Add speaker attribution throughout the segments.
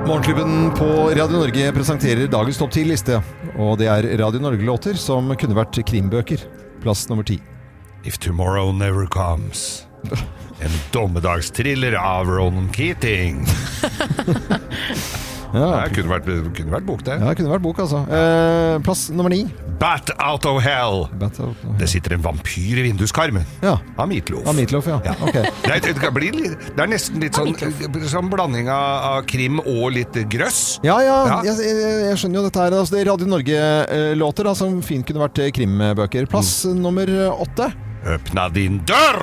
Speaker 1: Morgenklubben på Radio Norge presenterer dagens topp 10-liste. Og det er Radio Norge-låter som kunne vært krimbøker. Plass nummer ti.
Speaker 2: If tomorrow never comes. En dommedagstriller av Ronan Keating.
Speaker 1: Ja.
Speaker 2: Det kunne vært, kunne vært bok, det.
Speaker 1: Ja, det kunne vært bok, altså. Eh, plass nummer ni.
Speaker 2: Bat out of hell.
Speaker 1: Battle
Speaker 2: Det sitter en vampyr i vinduskarmen.
Speaker 1: Ja.
Speaker 2: Av Meatloaf.
Speaker 1: Av Meatloaf, ja.
Speaker 2: Ja.
Speaker 1: Ok.
Speaker 2: Det, er, det, blir litt, det er nesten litt sånn, sånn blanding av, av krim og litt grøss.
Speaker 1: Ja, ja,
Speaker 2: Ja.
Speaker 1: Jeg, jeg, jeg skjønner jo dette her. Altså, det er Radio Norge-låter da, som fint kunne vært eh, krimbøker. Plass eh, nummer åtte.
Speaker 2: Øpna din dør!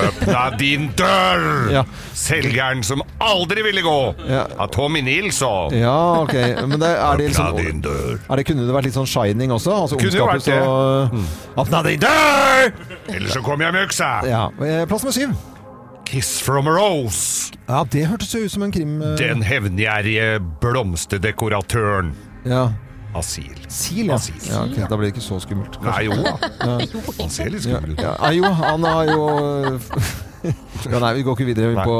Speaker 2: Øpna din dør!
Speaker 1: Ja.
Speaker 2: Selgeren som aldri ville gå!
Speaker 1: Ja.
Speaker 2: Av Tommy Nilsson.
Speaker 1: Ja, ok. Men det, er det
Speaker 2: Åpna
Speaker 1: liksom
Speaker 2: din dør.
Speaker 1: er det, Kunne det vært litt sånn shining også? Altså
Speaker 2: Kunne jo vært
Speaker 1: ondskapens
Speaker 2: det.
Speaker 1: og Åpna din dør!
Speaker 2: Dør! Ellers så kommer jeg med øksa.
Speaker 1: Ja. eh, Plass nummer syv.
Speaker 2: Kiss from a rose.
Speaker 1: Ja, det hørtes jo ut som en krim... eh,
Speaker 2: Den hevngjerrige blomsterdekoratøren.
Speaker 1: Ja.
Speaker 2: Asil.
Speaker 1: Sil, ja.
Speaker 2: Asil.
Speaker 1: ja ok, Da blir det ikke så skummelt.
Speaker 2: Nei, jo da. Han ser litt skummel ut.
Speaker 1: Ja, ah, jo, han har jo ja, Nei, vi går ikke videre
Speaker 2: Nei.
Speaker 1: på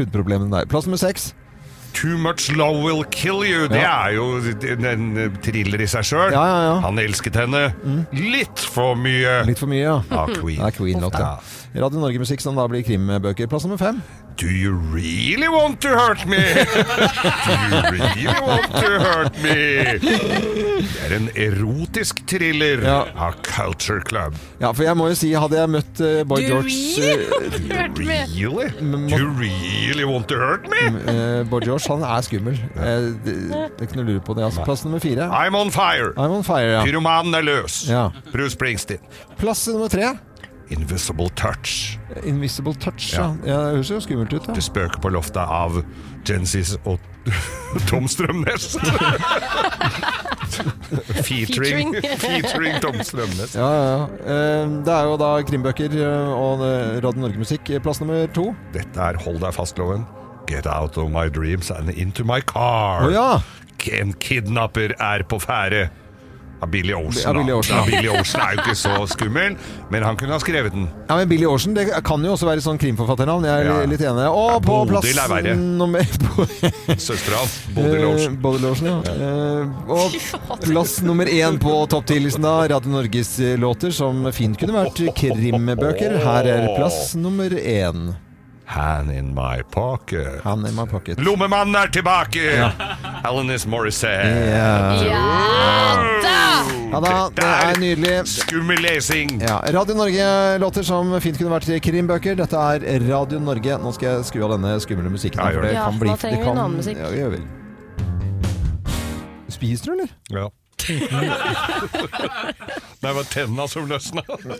Speaker 1: hudproblemene der. Plass nummer seks.
Speaker 2: Too much love will kill you. Det
Speaker 1: Ja.
Speaker 2: er jo en thriller i seg sjøl.
Speaker 1: Ja, ja, ja.
Speaker 2: Han elsket henne litt for mye.
Speaker 1: Litt for mye, ja.
Speaker 2: Ah,
Speaker 1: Det er
Speaker 2: Queen.
Speaker 1: Queen-låt, ja. Radio Norge-musikk som da blir krimbøker. Plass nummer fem.
Speaker 2: Do you really want to hurt me? Do you really want to hurt me? Det er en erotisk thriller
Speaker 1: Ja.
Speaker 2: av Culture Club.
Speaker 1: Ja, for jeg må jo si, hadde jeg møtt eh, Boy
Speaker 3: Du
Speaker 1: George eh,
Speaker 2: Really? Do you really want to hurt me?
Speaker 1: eh, Boy George, han er skummel. Eh, det, det er ikke noe å lure på det. Altså. Plass nummer fire.
Speaker 2: I'm on fire.
Speaker 1: I'm on fire, Ah, ja.
Speaker 2: Pyromanen er løs.
Speaker 1: Ja.
Speaker 2: Bruce Springsteen.
Speaker 1: Plass nummer tre.
Speaker 2: Invisible Touch.
Speaker 1: Invisible Touch. Ja.
Speaker 2: Ja.
Speaker 1: ja det høres jo skummelt ut,
Speaker 2: Det
Speaker 1: da.
Speaker 2: spøker på loftet av Jensis og Tom Strømnes. Featuring, featuring Tom Strømnes.
Speaker 1: Ja, ja, ja. Eh, det er jo da krimbøker eh, og eh, Radio Norge-musikk. Plass nummer to.
Speaker 2: Dette er Hold deg fast-loven. Get out of my dreams and into my
Speaker 1: Å
Speaker 2: car.
Speaker 1: ja!
Speaker 2: En kidnapper er på ferde. Av Billy Olsen.
Speaker 1: Av Billy
Speaker 2: da.
Speaker 1: Olsen, ja.
Speaker 2: Ja, Billy Olsen er jo ikke så skummel, men han kunne ha skrevet den.
Speaker 1: ja! Men Billy Aarsen det kan jo også være sånn krimforfatternavn. Jeg er
Speaker 2: Ja.
Speaker 1: litt enig. Og
Speaker 2: Ja,
Speaker 1: på plass
Speaker 2: Bodil er verre.
Speaker 1: nummer
Speaker 2: Søstera hans, Bodil
Speaker 1: Eh,
Speaker 2: Olsen.
Speaker 1: Bodil Olsen, ja. Eh, og plass nummer én på topp 10-listen da, Radio Norges eh, låter, som fint kunne vært krimbøker. Her er plass nummer én.
Speaker 2: Hand in my pocket.
Speaker 1: Han in my pocket.
Speaker 2: Lommemannen er tilbake! Alanis Morissette.
Speaker 1: Ja.
Speaker 2: Ja
Speaker 1: ja da, det er nydelig.
Speaker 2: skummel lesing.
Speaker 1: Ja, Radio Norge-låter som fint kunne vært krimbøker. Dette er Radio Norge. Nå skal jeg skru av denne skumle musikken.
Speaker 2: Ja,
Speaker 1: her, for
Speaker 2: gjør
Speaker 1: det
Speaker 2: det.
Speaker 3: Ja,
Speaker 1: kan bli,
Speaker 3: da trenger
Speaker 1: det
Speaker 3: vi en
Speaker 1: kan-
Speaker 3: annen musikk.
Speaker 1: Ja, gjør vi. Spiser du, eller?
Speaker 2: Ja. det var tenna som løsna. Nei,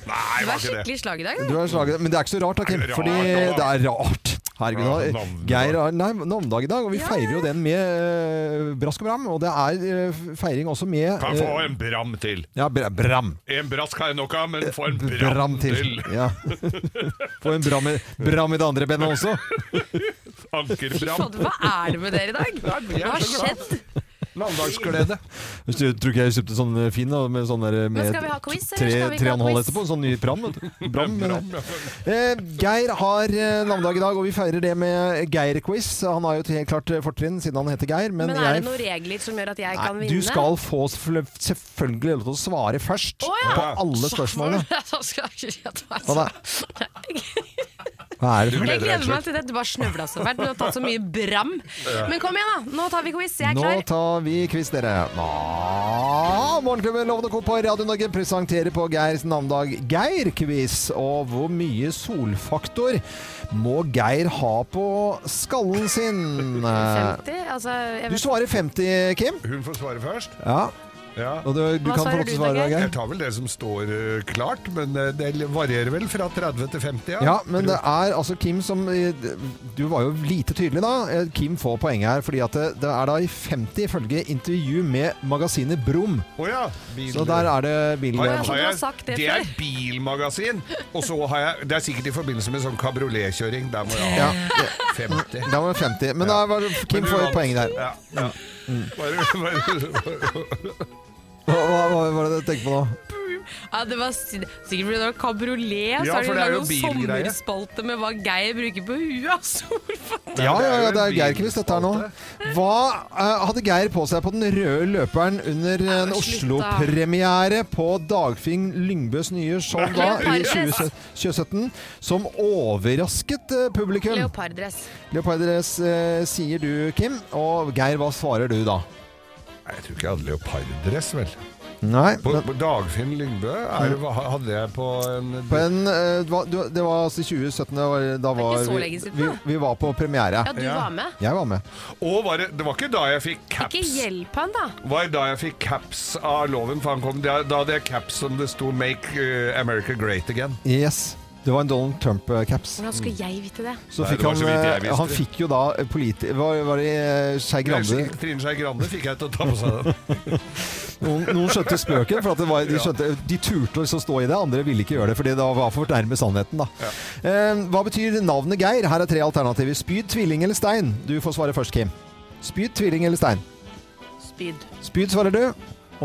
Speaker 2: det
Speaker 3: Du
Speaker 2: var
Speaker 3: er
Speaker 2: ikke det.
Speaker 3: skikkelig i slag i dag. altså.
Speaker 1: Du er slaget, men det er ikke så rart, da, Kim.
Speaker 2: Er det rart,
Speaker 1: Fordi
Speaker 2: da?
Speaker 1: det er rart. Herregud,
Speaker 2: Ja,
Speaker 1: da.
Speaker 2: navnedag.
Speaker 1: Geir har nei, navnedag i dag, og vi feirer jo den med eh, brask og bram. Og det er eh, feiring også med
Speaker 2: Kan få
Speaker 1: eh,
Speaker 2: en bram til.
Speaker 1: ja, bra, bram.
Speaker 2: En brask har jeg nok av, men få en bram,
Speaker 1: Eh, Bram til.
Speaker 2: til.
Speaker 1: Ja. Få en bram i, bram i det andre benet også.
Speaker 2: Ankerbram.
Speaker 3: Hva er det med dere i dag?
Speaker 2: vi er
Speaker 3: Hva har
Speaker 2: så glad.
Speaker 3: skjedd?
Speaker 2: Landdagsglede.
Speaker 1: Hvis du tror ikke jeg kjøpte sånn eh, fin da, med sånn der eh, med
Speaker 3: skal vi ha quiz, eller
Speaker 1: tre,
Speaker 3: skal vi ikke
Speaker 1: tre
Speaker 3: ha
Speaker 1: og en halv
Speaker 3: quiz?
Speaker 1: etterpå? En sånn ny pram. vet du. Bram. eh.
Speaker 2: Bram, ja.
Speaker 1: Eh, Geir har eh, navnedag i dag, og vi feirer det med Geir-quiz. Han har jo et helt klart eh, fortrinn siden han heter Geir, men,
Speaker 3: Men er det
Speaker 1: jeg
Speaker 3: noen regler som gjør at jeg kan
Speaker 1: Nei,
Speaker 3: vinne?
Speaker 1: du skal få sel- selvfølgelig lov til å svare først
Speaker 3: Å, ja.
Speaker 1: på alle spørsmålene.
Speaker 3: Da skal jeg ikke si at det er
Speaker 1: Hva da?
Speaker 3: så-
Speaker 1: Hva er det for
Speaker 2: Du
Speaker 1: noe?
Speaker 3: Jeg
Speaker 2: gleder deg
Speaker 3: gleder meg
Speaker 2: selv.
Speaker 3: til dette bare snøvla så fælt. Du har tatt så mye bram. Men kom igjen, da. Nå tar vi quiz. Jeg er
Speaker 1: Nå
Speaker 3: klar.
Speaker 1: tar vi quiz, dere. Nå, Morgenklubben Lovende Co. på Radio Norge presenterer på Geirs navnedag Geir-quiz. Og hvor mye solfaktor må Geir ha på skallen sin? Eh,
Speaker 3: 50? Altså, jeg
Speaker 1: Du
Speaker 3: vet.
Speaker 1: svarer 50, Kim.
Speaker 2: Hun får svare først.
Speaker 1: Ja,
Speaker 2: Ja.
Speaker 1: og du, du
Speaker 3: Hva
Speaker 1: kan få
Speaker 3: svarer
Speaker 1: lov til å
Speaker 3: du da,
Speaker 1: svare, Geir.
Speaker 2: Jeg tar vel det som står eh, klart, men eh, det varierer vel fra 30 til 50, ja.
Speaker 1: Ja, men det er altså Kim som eh, Du var jo lite tydelig da. Eh, Kim får poenget her, fordi at det, det er da i 50 ifølge intervju med magasinet Brum.
Speaker 2: Å ja.
Speaker 1: Så der er det
Speaker 2: Har
Speaker 1: bilen.
Speaker 2: jeg-
Speaker 3: Å, ja, så du har sagt det
Speaker 2: det er
Speaker 3: før.
Speaker 2: bilmagasin. Og så har jeg Det er sikkert i forbindelse med sånn kabrioletkjøring. Der må jeg
Speaker 1: Ja,
Speaker 2: ha 50.
Speaker 1: Da var det 50. Men da var det- Kim
Speaker 2: Men du
Speaker 1: får
Speaker 2: vant.
Speaker 1: poenget der.
Speaker 2: Ja, ja.
Speaker 1: Mm,
Speaker 2: Bare, bare,
Speaker 1: Hva, hva, hva var det du tenkte på nå?
Speaker 3: Ja, det var si- sikkert fordi det var kabriolet.
Speaker 2: Ja,
Speaker 3: så har de
Speaker 2: for det er jo
Speaker 3: lagd noen
Speaker 2: bilgreie.
Speaker 3: sommerspalte med hva Geir bruker på huet av solfaktor.
Speaker 1: Ja, ja, ja, det er
Speaker 2: en
Speaker 1: Geir-quiz dette her nå. Hva eh, hadde Geir på seg på den røde løperen under en
Speaker 3: men slutt, da.
Speaker 1: Oslo-premiere på Dagfinn Lyngbøs nye show da i
Speaker 3: Leoparddress.
Speaker 1: 2017, 2017, som overrasket eh, publikum?
Speaker 3: Leoparddress.
Speaker 1: Leoparddress eh, sier du, Kim. Og Geir, hva svarer du da?
Speaker 2: Nei, Jeg tror ikke jeg hadde leoparddress, vel.
Speaker 1: Nei,
Speaker 2: På,
Speaker 1: men
Speaker 2: på Dagfinn Lyngbø er, det- hadde jeg på en
Speaker 1: på en, eh, det var- du- det var altså i 2017, det var, da
Speaker 3: Det er
Speaker 1: var
Speaker 3: ikke så
Speaker 1: vi,
Speaker 3: lenge siden,
Speaker 1: vi,
Speaker 3: da.
Speaker 1: vi var på premiere.
Speaker 3: Ja, du
Speaker 2: Ja.
Speaker 3: var med.
Speaker 1: Jeg var med.
Speaker 2: Og var det, det var ikke da jeg fikk
Speaker 3: Ikke
Speaker 2: caps.
Speaker 3: hjelp han, da.
Speaker 2: var da jeg fikk caps av loven. For han kom, da, da hadde jeg caps som det sto 'Make eh, America Great Again'.
Speaker 1: Yes. Det var en Donald Trump-caps.
Speaker 3: Hvordan skulle jeg vite det?
Speaker 1: Så
Speaker 2: Nei,
Speaker 1: fikk
Speaker 2: det var
Speaker 1: han,
Speaker 2: så vidt
Speaker 1: eh,
Speaker 2: jeg visste.
Speaker 1: han fikk jo da eh, politi... Var, var det eh, Skei Grande?
Speaker 2: Trine Skei Grande fikk jeg til å ta på seg den.
Speaker 1: Noen, noen skjønte spøken, for at det var, de, skjønte, de turte å liksom stå i det. Andre ville ikke gjøre det, fordi det var for nærme sannheten. Da. Eh, hva betyr navnet Geir? Her er tre alternativer. Spyd, tvilling eller stein? Du får svare først, Kim. Spyd, tvilling eller stein?
Speaker 3: Spyd.
Speaker 1: Spyd svarer du.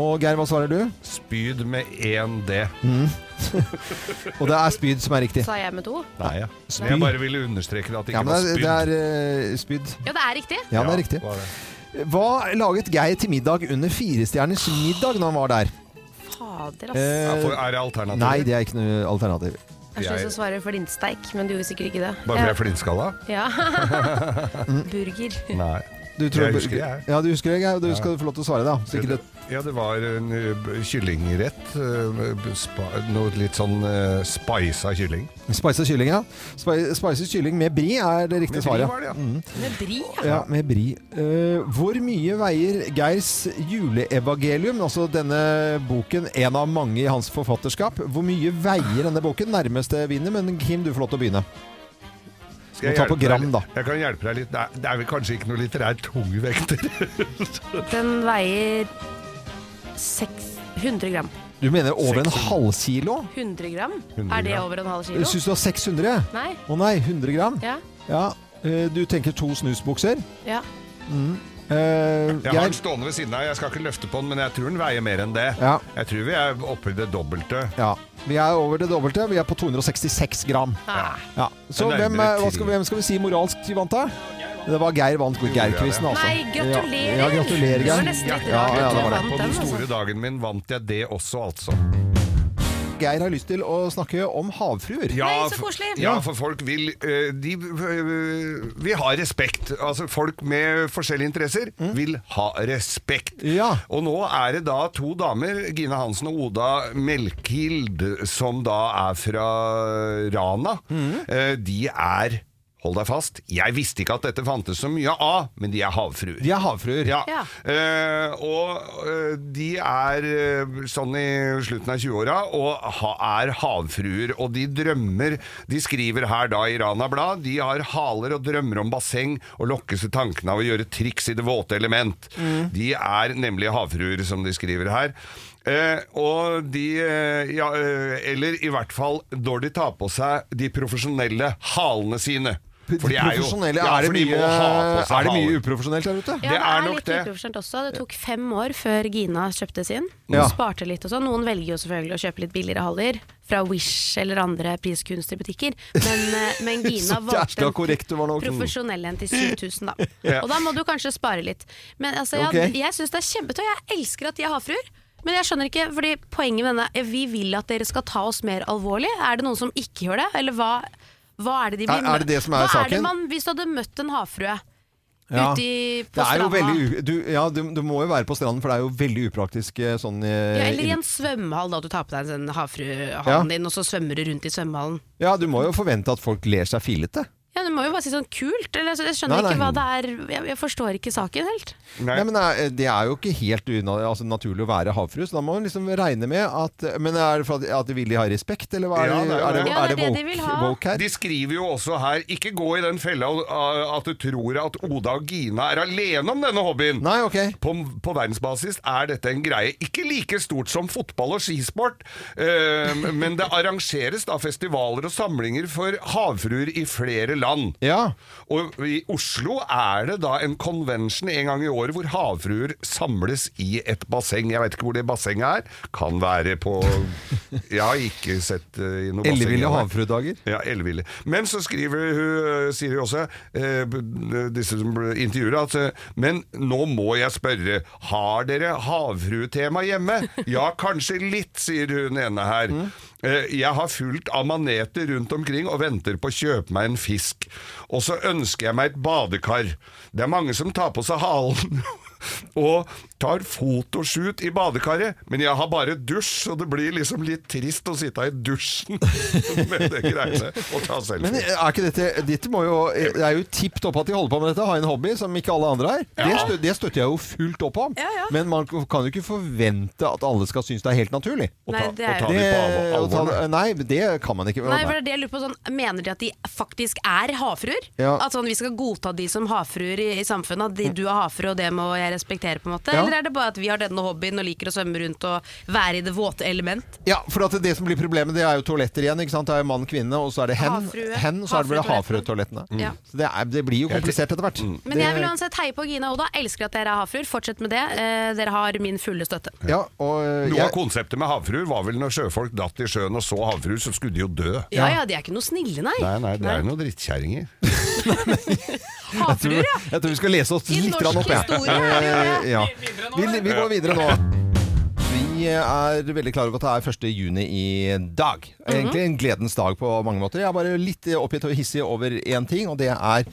Speaker 1: Og Geir, hva svarer du?
Speaker 2: Spyd med én D.
Speaker 1: Og det er spyd som er riktig.
Speaker 3: Sa jeg med to?
Speaker 2: Nei, ja.
Speaker 1: Spyd.
Speaker 2: Jeg bare ville understreke det at det
Speaker 1: Ja,
Speaker 2: ikke
Speaker 1: men
Speaker 2: var
Speaker 1: det er,
Speaker 2: spyd.
Speaker 1: det er eh, spyd.
Speaker 3: Ja, det er riktig.
Speaker 1: Ja, det er riktig.
Speaker 2: var det.
Speaker 1: Hva laget Geir til middag under Firestjerners middag når han var der?
Speaker 3: Fader, ass. sånn
Speaker 1: Eh,
Speaker 2: Ja, for er det alternativet?
Speaker 1: Nei, det er ikke noe alternativ.
Speaker 3: Jeg har så lyst til å svare flintsteik, men du gjorde sikkert ikke det.
Speaker 2: Bare fordi jeg er flintskalla?
Speaker 3: Ja. Burger.
Speaker 2: Nei.
Speaker 1: Du tror-
Speaker 2: Jeg husker det, jeg.
Speaker 1: Ja, du husker det, Geir. Du skal få lov til å svare, da. Sikkert et
Speaker 2: Ja, det var en ø, b- kyllingrett. ø, b- Spa, noe litt sånn uh, spisa kylling.
Speaker 1: Spicy kylling, ja. Spi- Spicy kylling med bri er det riktige
Speaker 2: Med
Speaker 1: svaret.
Speaker 2: brie var det, ja.
Speaker 1: Mm.
Speaker 3: Med bri.
Speaker 1: Ja, med bri. Eh, hvor mye veier Geirs juleevangelium, altså denne boken, en av mange i hans forfatterskap, hvor mye veier denne boken? Nærmeste vinner, men Kim, du får lov til å begynne.
Speaker 2: Skal
Speaker 1: Må ta på
Speaker 2: hjelpe deg
Speaker 1: gram,
Speaker 2: litt?
Speaker 1: da.
Speaker 2: Jeg kan hjelpe deg litt. Det er, det er vel kanskje ikke noe litterær tungvekter?
Speaker 3: Den veier 600 gram.
Speaker 1: Du mener over en
Speaker 2: 600.
Speaker 1: halv kilo?
Speaker 3: 100 gram?
Speaker 2: 100
Speaker 3: Er det
Speaker 2: gram.
Speaker 3: over en halv kilo?
Speaker 1: Syns du det var 600?
Speaker 3: Nei?
Speaker 1: Å nei, 100 gram?
Speaker 3: Ja?
Speaker 1: Ja. Eh, du tenker to snusbukser?
Speaker 3: Ja.
Speaker 1: Eh,
Speaker 2: Jeg har
Speaker 1: Geir?
Speaker 2: den stående ved siden av, jeg skal ikke løfte på den, men jeg tror den veier mer enn det.
Speaker 1: Ja.
Speaker 2: Jeg tror vi er oppe i det dobbelte.
Speaker 1: Ja. Vi er over det dobbelte. Vi er på 266 gram.
Speaker 3: Ah.
Speaker 1: Ja. Så
Speaker 2: Det er
Speaker 1: hvem,
Speaker 2: nærmere
Speaker 1: eh, hva skal,
Speaker 2: tre.
Speaker 1: hvem skal vi si moralsk vi vant da? Det var Geir vant Geir-quizen,
Speaker 2: det.
Speaker 1: altså.
Speaker 3: Nei, gratulerer!
Speaker 1: Ja, ja, gratulerer,
Speaker 3: Det var
Speaker 1: Geir.
Speaker 3: nesten litt
Speaker 1: Ja,
Speaker 3: rart
Speaker 1: ja,
Speaker 3: at
Speaker 1: det var det.
Speaker 3: du vant
Speaker 2: På den
Speaker 3: den. altså.
Speaker 2: store dagen min vant jeg det også, altså.
Speaker 1: Geir har lyst til å snakke om havfruer.
Speaker 3: Nei, så
Speaker 2: f-
Speaker 3: koselig.
Speaker 2: Ja, for folk vil eh, de, eh, Vi har respekt. Altså, folk med forskjellige interesser
Speaker 3: Mm.
Speaker 2: vil ha respekt.
Speaker 1: Ja.
Speaker 2: Og nå er det da to damer, Gine Hansen og Oda Melkild, som da er fra Rana.
Speaker 3: Mm.
Speaker 2: Eh, de er Hold deg fast. Jeg visste ikke at dette fantes så mye av, men de er havfruer.
Speaker 1: De er havfruer.
Speaker 2: Ja.
Speaker 3: Ja.
Speaker 2: Eh, og eh, de er eh, sånn i slutten av 20-åra og ha, er havfruer. Og de drømmer De skriver her da i Rana Blad de har haler og drømmer om basseng og lokkes til tankene av å gjøre triks i det våte element. De er nemlig havfruer, som de skriver her. Eh, og de eh, ja, eh, Eller i hvert fall når de tar på seg de profesjonelle halene sine.
Speaker 1: De
Speaker 2: For de er jo
Speaker 1: profesjonelle,
Speaker 2: ja,
Speaker 1: er, det
Speaker 2: for de må
Speaker 1: mye,
Speaker 2: ha på seg
Speaker 1: er det
Speaker 2: haler.
Speaker 1: mye uprofesjonelt der ute?
Speaker 3: Ja,
Speaker 2: Det
Speaker 3: det,
Speaker 2: er
Speaker 3: er,
Speaker 2: nok
Speaker 3: litt
Speaker 2: det.
Speaker 3: uprofesjonelt også. Det tok fem år før Gina kjøpte sin. Hun
Speaker 1: Ja.
Speaker 3: sparte litt og sånn. Noen velger jo selvfølgelig å kjøpe litt billigere haller fra Wish eller andre priskunstige butikker, men, eh, men Gina
Speaker 1: Så
Speaker 3: valgte
Speaker 1: jævla korrekt du var nå.
Speaker 3: profesjonell en til 7000, da.
Speaker 2: Ja.
Speaker 3: Og da må du kanskje spare litt. Men altså, ja,
Speaker 1: Ok.
Speaker 3: jeg syns det er kjempetøy. Jeg elsker at de er havfruer. Men jeg skjønner ikke, fordi poenget med denne Vi vil at dere skal ta oss mer alvorlig. Er det noen som ikke gjør det, eller hva? Hva er det de
Speaker 1: Er-
Speaker 3: blir
Speaker 1: er det det som er
Speaker 3: Hva er
Speaker 1: saken?
Speaker 3: det man, hvis du hadde møtt en havfrue
Speaker 1: Ja.
Speaker 3: ute i,
Speaker 1: Det
Speaker 3: på
Speaker 1: er jo
Speaker 3: stranda
Speaker 1: veldig u du, ja, du, du må jo være på stranden, for det er jo veldig upraktisk eh, sånn eh,
Speaker 3: ja, Eller i
Speaker 1: inn-
Speaker 3: en svømmehall, da du tar på deg en sånn
Speaker 1: Ja.
Speaker 3: havfruehalen din, og så svømmer du rundt i svømmehallen.
Speaker 1: ja, du må jo forvente at folk ler seg filete.
Speaker 3: Ja, Du må jo bare si sånn kult. Eller, altså, jeg skjønner
Speaker 1: Nei, nei.
Speaker 3: ikke hva det er jeg, jeg forstår ikke saken helt.
Speaker 1: Nei, men eh, Det er jo ikke helt una, altså, naturlig å være havfrue, så da må man liksom regne med at Men er det for at, at de vil de ha respekt, eller hva er det,
Speaker 2: Ja, det er
Speaker 1: er det,
Speaker 2: det.
Speaker 3: Ja,
Speaker 1: er
Speaker 3: det
Speaker 1: det
Speaker 3: er det de vil
Speaker 1: woke,
Speaker 3: ha.
Speaker 1: woke her?
Speaker 2: De skriver jo også her Ikke gå i den fella uh, at du tror at Oda og Gina er alene om denne hobbyen.
Speaker 1: Nei, ok.
Speaker 2: På, på verdensbasis er dette en greie ikke like stort som fotball og skisport, eh, men det arrangeres da festivaler og samlinger for havfruer i flere land.
Speaker 1: Ja.
Speaker 2: Og i Oslo er det da en convention en gang i året hvor havfruer samles i et basseng. Jeg vet ikke hvor det bassenget er. Kan være på Jeg har ikke sett eh, i noe basseng.
Speaker 1: Elleville havfruedager.
Speaker 2: Ja, elleville. Men så skriver hun, eh, sier hun også, eh, b- disse som ble intervjuet, at eh, Men nå må jeg spørre, har dere havfruetema hjemme? Ja, kanskje litt, sier hun ene her. Eh, Jeg har fulgt av maneter rundt omkring og venter på å kjøpe meg en fisk. Og så ønsker jeg meg et badekar. Det er mange som tar på seg halen og tar fotoshoot i badekaret, men jeg har bare dusj, så det blir liksom litt trist å sitte i dusjen med det greiene og ta selfie.
Speaker 1: Men eh, er ikke dette, dette må jo, Det er jo tipp topp at de holder på med dette, ha en hobby som ikke alle andre har. Det, stø, det støtter jeg jo fullt opp om.
Speaker 3: Ja, ja.
Speaker 1: Men man kan jo ikke forvente at alle skal synes det er helt naturlig.
Speaker 2: og ta,
Speaker 3: Nei, det er
Speaker 2: og ta
Speaker 3: jo-
Speaker 2: det
Speaker 1: Det-
Speaker 2: på alvor,
Speaker 1: å ta
Speaker 2: alvor.
Speaker 1: det- nei, det kan man ikke.
Speaker 3: Nei, for det er det jeg lurer på sånn, Mener de at de faktisk er havfruer?
Speaker 1: Ja.
Speaker 3: At sånn, vi skal godta de som havfruer i, i samfunnet? At de, du er havfrue, og det må jeg respektere? på en måte
Speaker 1: Ja.
Speaker 3: Eller er det bare at vi har denne hobbyen og liker å svømme rundt og være i det våte element?
Speaker 1: Ja, for at det som blir problemet, det er jo toaletter igjen. ikke sant? Det er jo mann, kvinne, og så er det hen.
Speaker 3: Havfrue.
Speaker 1: hen så er det vel havfruetoalettene.
Speaker 3: Mm. Ja.
Speaker 1: Så det, er, det blir jo komplisert etter hvert.
Speaker 3: Men jeg vil uansett heie på Gina og Oda. Elsker at dere er havfruer. Fortsett med det. Eh, dere har min fulle støtte.
Speaker 1: Ja, og øh,
Speaker 2: Noe av
Speaker 1: jeg,
Speaker 2: konseptet med havfruer var vel når sjøfolk datt i sjøen og så havfruer, så skulle de jo dø.
Speaker 3: Ja ja, de er ikke noe snille, nei.
Speaker 2: Nei, nei, det er jo noen drittkjerringer.
Speaker 3: Havfruer, ja.
Speaker 1: jeg tror vi skal lese oss
Speaker 3: I
Speaker 1: litt
Speaker 3: norsk
Speaker 1: grann opp, jeg.
Speaker 3: historie er det jo
Speaker 1: Eh, ja. vi, vi går videre nå. Vi er veldig klare over at det er 1. juni i dag.
Speaker 3: Mhm.
Speaker 1: Egentlig en gledens dag på mange måter. Jeg er bare litt oppgitt og hissig over én ting, og det er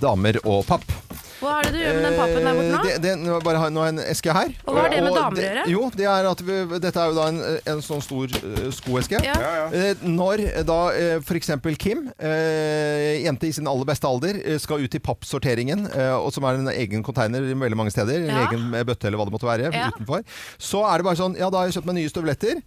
Speaker 1: damer og papp.
Speaker 3: Hva er det du gjør med den pappen der borte nå?
Speaker 1: Eh, Det, det, nå har jeg bare har nå har jeg en eske her.
Speaker 3: Og hva har det med
Speaker 1: Og
Speaker 3: damer å gjøre?
Speaker 1: Jo, det er at vi, dette er jo da en, en sånn stor eh, skoeske.
Speaker 3: Ja. Ja,
Speaker 1: Eh, Når da eh, for eksempel Kim, eh, jente i sin aller beste alder, eh, skal ut i pappsorteringen, eh, og som er en egen container i veldig mange steder, en
Speaker 3: Ja.
Speaker 1: egen eh, bøtte eller hva det måtte være,
Speaker 3: Ja.
Speaker 1: utenfor, så er det bare sånn, ja da har jeg kjøpt meg nye støvletter,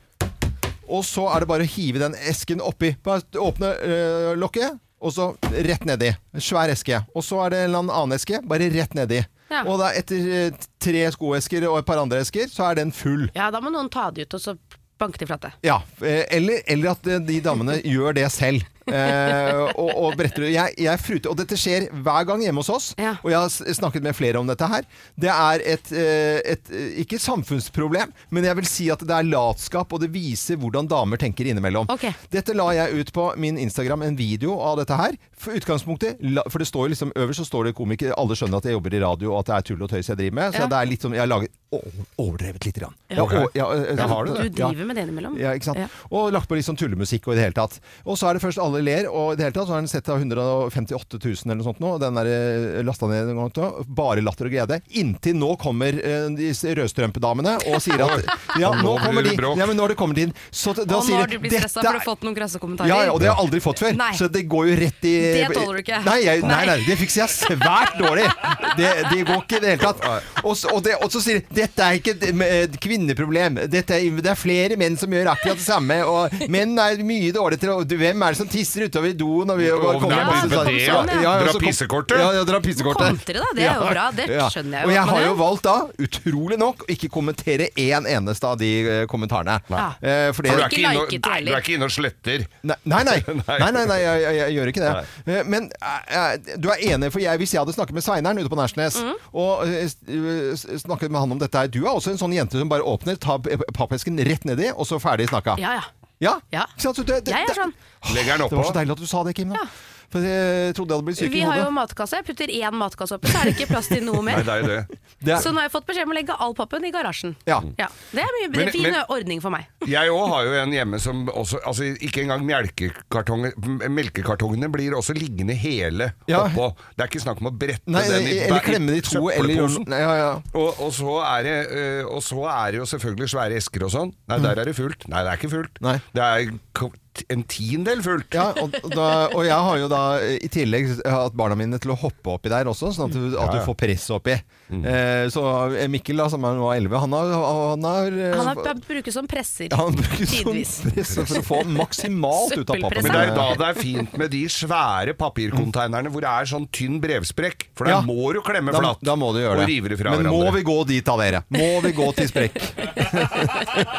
Speaker 1: og så er det bare å hive den esken oppi. Bare åpne øh, lokket, og så rett nedi. En Svær eske. Og så er det en eller annen annen eske, bare rett nedi.
Speaker 3: Ja.
Speaker 1: Og da etter øh, tre skoesker og et par andre esker, så er den full.
Speaker 3: Ja, da må noen ta det ut, og så banke de flate.
Speaker 1: Ja, eh, eller, eller at eh, de damene gjør det selv. Eh, og, og bretter det. Jeg, jeg fruter, og dette skjer hver gang hjemme hos oss,
Speaker 3: Ja.
Speaker 1: og jeg har s- snakket med flere om dette her. Det er et, eh, et eh, ikke samfunnsproblem, men jeg vil si at det er latskap, og det viser hvordan damer tenker innimellom.
Speaker 3: Ok.
Speaker 1: Dette la jeg ut på min Instagram, en video av dette her. For utgangspunktet, la- for det står jo liksom øverst så står det komiker, alle skjønner at jeg jobber i radio, og at det er tull og tøys jeg driver med, så
Speaker 3: Ja.
Speaker 1: det er litt som, jeg har laget, å, overdrevet litt grann.
Speaker 3: Ja.
Speaker 1: Jeg å- jeg- jeg-
Speaker 2: Ja, har du
Speaker 3: Du
Speaker 2: det?
Speaker 1: eh, Ja.
Speaker 3: driver med det innimellom.
Speaker 1: Ja, ikke sant?
Speaker 3: liksom. Ja.
Speaker 1: Og lagt på litt sånn tullemusikk og i det hele tatt. Og så er det først alle ler, og i det hele tatt så har den sett av 158 000 eller noe sånt nå, og den der eh, lasta ned en gang til, bare latter og glede. Inntil nå kommer eh, de s- rødstrømpedamene og sier at Ja,
Speaker 2: Og
Speaker 1: nå
Speaker 2: nå
Speaker 1: kommer de.
Speaker 2: blir det bråk.
Speaker 1: Ja, men nå har det kommet inn. Så t- da
Speaker 3: Og nå
Speaker 1: sier
Speaker 3: har du blitt stressa for du har fått noen krasse kommentarer.
Speaker 1: ja, ja, og det har jeg aldri fått før.
Speaker 3: Nei.
Speaker 1: Så det går jo rett i
Speaker 3: Det tåler du ikke.
Speaker 1: Nei, jeg, nei,
Speaker 3: Nei.
Speaker 1: nei, det fikser jeg svært dårlig. Det, det går ikke i det hele tatt. Og, så- og, det, og så sier de dette er ikke et et kvinneproblem. Dette er, det er flere menn som gjør akkurat det samme. Og menn er mye dårligere til å du, Hvem er det som tisser utover do når vi
Speaker 2: Å,
Speaker 1: kommer
Speaker 2: det er
Speaker 1: masse
Speaker 2: bare
Speaker 1: sånn-
Speaker 2: det,
Speaker 3: ja.
Speaker 1: og
Speaker 2: Dra
Speaker 1: så kom-
Speaker 2: pissekortet.
Speaker 1: Ja, ja, dra pissekortet.
Speaker 3: Kom dere da, det er jo bra. Det skjønner jeg jo
Speaker 1: Og
Speaker 3: at
Speaker 1: jeg
Speaker 3: man
Speaker 1: har jo
Speaker 3: gjør.
Speaker 1: valgt da, utrolig nok, å ikke kommentere én eneste av de eh, kommentarene.
Speaker 3: Nei.
Speaker 1: Eh, for det-
Speaker 2: For du er
Speaker 3: Ikke
Speaker 2: ikke inne og-
Speaker 3: liket
Speaker 2: nei, du
Speaker 3: heller.
Speaker 2: er ikke inne og sletter.
Speaker 1: Nei, nei, nei,
Speaker 2: Nei.
Speaker 1: nei, nei, nei jeg, jeg, jeg gjør ikke det. Eh, Men eh, eh, du er enig, for jeg, hvis jeg hadde snakket med Sveineren ute på Nærsnes,
Speaker 3: Mm.
Speaker 1: og eh, s- eh, s- snakket med han om dette her Du er også en sånn jente som bare åpner, tar p- pappesken rett nedi, og så ferdig snakka.
Speaker 3: Ja, ja.
Speaker 1: Ja?
Speaker 3: Ja.
Speaker 1: Ikke sant? Så det, det,
Speaker 3: Jeg er
Speaker 1: det,
Speaker 3: sånn.
Speaker 2: Legger den
Speaker 1: det var så
Speaker 2: oppå.
Speaker 1: deilig at du sa det, Kim. Da.
Speaker 3: Ja.
Speaker 1: For jeg trodde jeg hadde blitt syk
Speaker 3: Vi
Speaker 1: i
Speaker 3: har jo
Speaker 1: hodet.
Speaker 3: matkasse. Jeg putter én matkasse oppi, så er det ikke plass til noe
Speaker 2: Nei,
Speaker 3: mer.
Speaker 2: det er jo det.
Speaker 1: Det er-
Speaker 3: Så nå har jeg fått beskjed om å legge all pappen i garasjen.
Speaker 1: Ja.
Speaker 2: Mm.
Speaker 3: Det er mye det
Speaker 2: Men-
Speaker 3: er fin
Speaker 2: men-
Speaker 3: ordning for meg.
Speaker 2: Jeg òg har jo en hjemme som også Altså, ikke engang melkekartonger- m- melkekartongene blir også liggende hele
Speaker 1: Ja.
Speaker 2: oppå. Det er ikke snakk om å brette
Speaker 1: Nei,
Speaker 2: den i
Speaker 1: eller klemme de to, eller gjøre
Speaker 2: søppelposen.
Speaker 1: noe ja, ja.
Speaker 2: Og, og, så er det, eh, og så er det jo selvfølgelig svære esker og sånn. Nei, der er det fullt. Nei, det er ikke fullt.
Speaker 1: Mm. Nei.
Speaker 2: Det er ko- en tiendedel fullt.
Speaker 1: Ja, og, da, og jeg har jo da eh, i tillegg hatt barna mine til å hoppe oppi der også, sånn at du, at du
Speaker 2: ja. Mm.
Speaker 1: får presset oppi. Eh, så Mikkel, da, som er nå 11, han har, han har, eh,
Speaker 3: Han har han brukes som presser.
Speaker 1: han bruker sånn
Speaker 3: tidvis.
Speaker 1: press for å få maksimalt ut av pappen.
Speaker 2: Men det er jo da det er fint med de svære papirkonteinerne hvor det er sånn tynn brevsprekk. For der
Speaker 1: Ja.
Speaker 2: må du klemme
Speaker 1: Da,
Speaker 2: flatt
Speaker 1: da må du gjøre
Speaker 2: og rive det
Speaker 1: det.
Speaker 2: fra
Speaker 1: Men må
Speaker 2: hverandre.
Speaker 1: vi gå dit da, dere? Må vi gå til sprekk?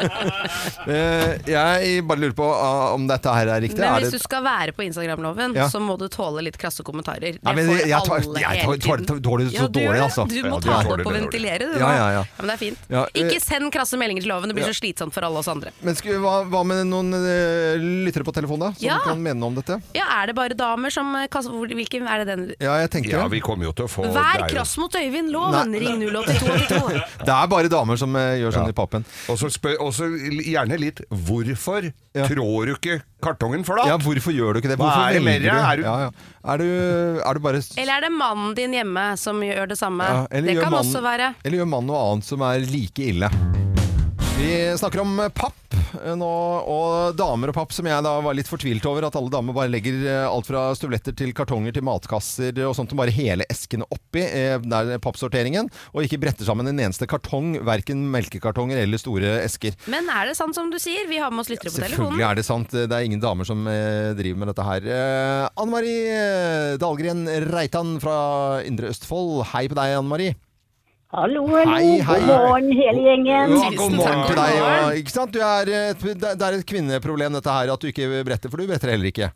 Speaker 1: Eh, jeg bare lurer på ah, om dette her er riktig.
Speaker 3: Men
Speaker 1: er
Speaker 3: hvis
Speaker 1: det...
Speaker 3: du skal være på Instagram-loven,
Speaker 1: Ja.
Speaker 3: så må du tåle litt krasse kommentarer. Det
Speaker 1: Nei, men jeg-
Speaker 3: får
Speaker 1: jeg tar-
Speaker 3: alle
Speaker 1: jeg tar-
Speaker 3: hele
Speaker 1: tar-
Speaker 3: tiden.
Speaker 1: tar- tar det så
Speaker 3: Ja, du gjør
Speaker 1: dårlig,
Speaker 3: det.
Speaker 1: altså.
Speaker 3: Du
Speaker 2: Ja,
Speaker 3: må
Speaker 2: du
Speaker 3: ta
Speaker 2: tar
Speaker 3: det
Speaker 2: det
Speaker 3: opp og
Speaker 2: dårlig.
Speaker 3: ventilere det.
Speaker 1: Ja,
Speaker 3: nå.
Speaker 1: ja, ja.
Speaker 3: men det er fint.
Speaker 1: Ja, eh,
Speaker 3: Ikke send krasse meldinger til loven, det blir så slitsomt for alle oss andre.
Speaker 1: Men skulle, hva, hva med noen eh, lyttere på telefonen, da? Som
Speaker 3: Ja.
Speaker 1: kan mene noe om dette?
Speaker 3: Ja, er det bare damer som eh, kaster hvor- Hvilken er det den
Speaker 1: Ja, jeg tenker
Speaker 2: Ja, vi kommer jo til å få det
Speaker 3: Vær
Speaker 2: er jo-
Speaker 3: krass mot Øyvind Loven! Ring 08282.
Speaker 1: Det er bare damer som eh, gjør sånn
Speaker 2: Ja.
Speaker 1: i pappen.
Speaker 2: Og så spør, også gjerne litt Hvorfor
Speaker 1: Ja.
Speaker 2: trår du ikke kartongen flatt?
Speaker 1: Ja, hvorfor gjør du ikke det?
Speaker 2: Hva
Speaker 1: Hvorfor
Speaker 2: er det
Speaker 1: velger
Speaker 2: mer? Er
Speaker 1: du?
Speaker 2: du-
Speaker 1: Ja, ja. Er, du, er du bare s-
Speaker 3: Eller er det mannen din hjemme som gjør det samme?
Speaker 1: ja,
Speaker 3: det
Speaker 1: gjør
Speaker 3: kan
Speaker 1: mannen-
Speaker 3: også være.
Speaker 1: Eller gjør mannen noe annet som er like ille? Vi snakker om eh, papp eh, nå, og damer og papp, som jeg da var litt fortvilt over. At alle damer bare legger eh, alt fra støvletter til kartonger til matkasser og sånt, og bare hele eskene oppi eh, der pappsorteringen. Og ikke bretter sammen en eneste kartong, verken melkekartonger eller store esker.
Speaker 3: Men er det sant som du sier? Vi har med oss lyttere på
Speaker 1: Selvfølgelig
Speaker 3: telefonen.
Speaker 1: er det sant. Det er ingen damer som eh, driver med dette her. Eh, Anne Marie eh, Dahlgren Reitan fra Indre Østfold. Hei på deg, Anne Marie.
Speaker 4: Hallo, hallo.
Speaker 1: Hei, hei.
Speaker 4: God morgen, hele gjengen.
Speaker 2: Ja,
Speaker 3: Tusen
Speaker 2: god
Speaker 3: takk.
Speaker 1: Til
Speaker 2: morgen til
Speaker 1: deg,
Speaker 2: deg.
Speaker 1: ja, ikke sant? Du er eh, et, det er et kvinneproblem dette her, at du ikke bretter, for du bretter heller ikke.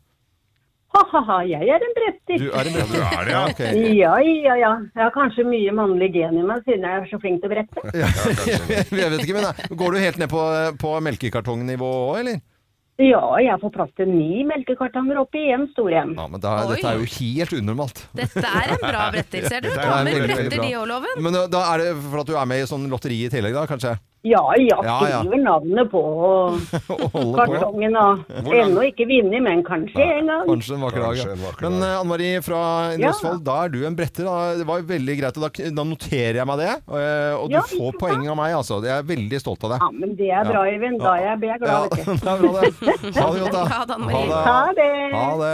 Speaker 4: Ha-ha-ha, jeg er en bretter.
Speaker 1: Du er en
Speaker 2: Ja, du
Speaker 1: bretter.
Speaker 2: er det, ja.
Speaker 1: ok.
Speaker 4: Ja, ja, ja. Jeg har kanskje mye mannlig gen i meg siden jeg er så flink til å brette.
Speaker 1: Jeg vet ikke, men da, Går du helt ned på, eh, på melkekartongnivå òg, eller?
Speaker 4: Ja, jeg får plass til ni melkekartonger oppi en stor en.
Speaker 1: Ja, men da,
Speaker 3: Oi.
Speaker 1: Dette er jo helt unormalt.
Speaker 3: Dette er en bra bretter, ser du.
Speaker 2: Dette er
Speaker 3: Damer
Speaker 2: veldig, veldig
Speaker 3: bretter
Speaker 1: bra.
Speaker 3: de òg, Loven.
Speaker 1: Men eh, da- da er det for at du er med i sånn lotteri i tillegg, da, kanskje?
Speaker 4: Ja, ja,
Speaker 1: Ja, ja.
Speaker 4: skriver navnet på
Speaker 1: Å holde på.
Speaker 4: kartongen og ennå ikke vunnet, men kanskje en gang.
Speaker 1: Kanskje en vakker dag.
Speaker 2: Kanskje en
Speaker 1: Ja.
Speaker 2: vakker
Speaker 1: Men
Speaker 2: dag.
Speaker 1: eh, Anne Marie fra Indre
Speaker 4: Ja.
Speaker 1: Østfold, da er du en bretter. Da. Det var jo veldig greit, og da, da noterer jeg meg det. eh, Og du
Speaker 4: Ja, ikke
Speaker 1: får
Speaker 4: sant?
Speaker 1: poeng av meg, altså. Jeg er veldig stolt av deg.
Speaker 4: Ja, men det er bra, Øyvind. Da er jeg, blir jeg glad, vet du.
Speaker 1: det er bra, det. Ha det godt, da.
Speaker 3: Ha det, Anne Marie.
Speaker 4: Ha det.
Speaker 1: Ha det.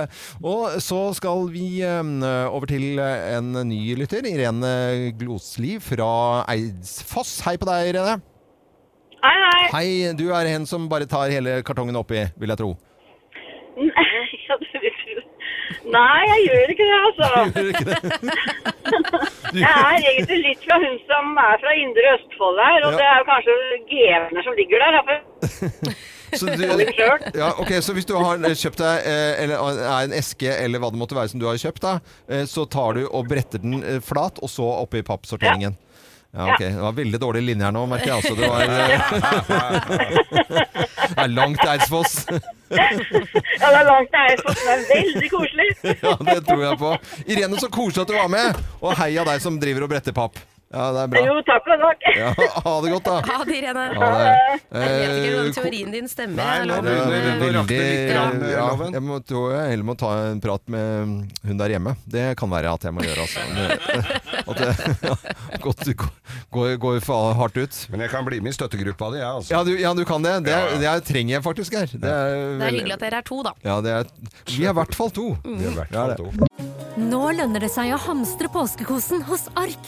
Speaker 1: Og så skal vi eh, over til en ny lytter, Irene Glosli fra Eidsfoss. Hei på deg, Irene.
Speaker 5: Hei, hei.
Speaker 1: Hei, du er en som bare tar hele kartongen oppi, vil jeg tro.
Speaker 5: Nei, ja, du vil tro. Nei, jeg gjør ikke det, altså. Jeg er egentlig litt fra hun som er fra indre Østfold her, og
Speaker 1: Ja.
Speaker 5: det er jo kanskje GV-ene som ligger der. da, for-
Speaker 1: Så, du,
Speaker 5: litt skjørt.
Speaker 1: ja, ok, så hvis du har eh, kjøpt deg eh, eller er en eske eller hva det måtte være som du har kjøpt, da, eh, så tar du og bretter den eh, flat, og så oppi pappsorteringen. Ja, ok. Det var veldig dårlig linje her nå, merker jeg. Altså, det var eh, Det er langt til Eidsfoss.
Speaker 5: Ja, det er langt det er, så det er veldig koselig.
Speaker 1: Ja, det tror jeg på. Irene, så koselig at du var med, og heia deg som driver og bretter papp. Ja, det er bra.
Speaker 5: Jo, takk og takk.
Speaker 1: Ja, ha det godt, da.
Speaker 3: Ha det, Irene.
Speaker 1: Ha det.
Speaker 3: Jeg vet ikke
Speaker 1: Eh,
Speaker 3: om teorien din stemmer.
Speaker 2: Nei,
Speaker 3: eller
Speaker 2: nei,
Speaker 3: om-
Speaker 1: Det
Speaker 2: nei,
Speaker 1: er
Speaker 2: nei, nei. rakte
Speaker 1: veldig
Speaker 2: litt
Speaker 1: ja,
Speaker 2: grann, eh, loven.
Speaker 1: Jeg må, tror jeg heller må ta en prat med hun der hjemme. Det kan være at jeg må gjøre, altså. At jeg godt, du går, går for hardt ut.
Speaker 2: Men jeg kan bli med i støttegruppa di, jeg, altså.
Speaker 1: Ja du, ja, du kan det. Det,
Speaker 2: Ja,
Speaker 1: det trenger jeg faktisk her. Det er,
Speaker 3: Det er hyggelig at dere er to, da.
Speaker 1: ja, det er, Vi er i hvert fall to.
Speaker 2: Det er i hvert
Speaker 1: Ja,
Speaker 2: fall
Speaker 1: det.
Speaker 2: to.
Speaker 6: Nå lønner det seg å hamstre påskekosen hos Ark.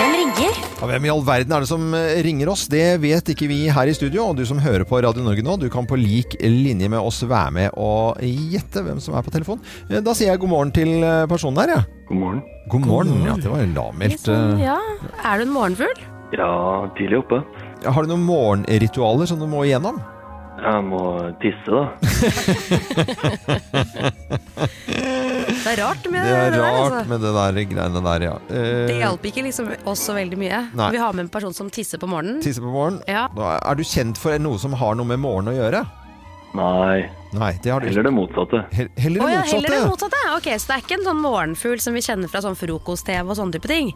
Speaker 7: Hvem ringer?
Speaker 1: Ja, hvem i all verden er det som eh, ringer oss? Det vet ikke vi her i studio. Og du som hører på Radio Norge nå, du kan på lik linje med oss være med og gjette hvem som er på telefon. Eh, Da sier jeg god morgen til eh, personen her, ja.
Speaker 8: God morgen.
Speaker 1: God morgen. Ja, det var lavmælt. eh.
Speaker 3: Ja. sånn, Er du en morgenfugl?
Speaker 8: Ja, tidlig oppe.
Speaker 1: Har du noen morgenritualer som du må igjennom?
Speaker 8: Jeg må tisse, da.
Speaker 3: Det er rart med
Speaker 1: Det er
Speaker 3: der,
Speaker 1: rart
Speaker 3: altså.
Speaker 1: med det der greiene der, ja. Eh,
Speaker 3: Det hjalp ikke liksom oss så veldig mye.
Speaker 1: Nei.
Speaker 3: Vi har med en person som tisser på morgenen.
Speaker 1: Tisse på morgenen.
Speaker 3: Ja.
Speaker 1: Da Er du kjent for noe som har noe med morgen å gjøre?
Speaker 8: Nei,
Speaker 1: Nei, det har du ikke.
Speaker 8: heller det motsatte.
Speaker 1: Hell- Heller
Speaker 3: Å
Speaker 1: det
Speaker 3: ja, heller det
Speaker 1: motsatte.
Speaker 3: motsatte. Ok, Så det er ikke en sånn morgenfugl som vi kjenner fra sånn frokost-TV og sånne type ting?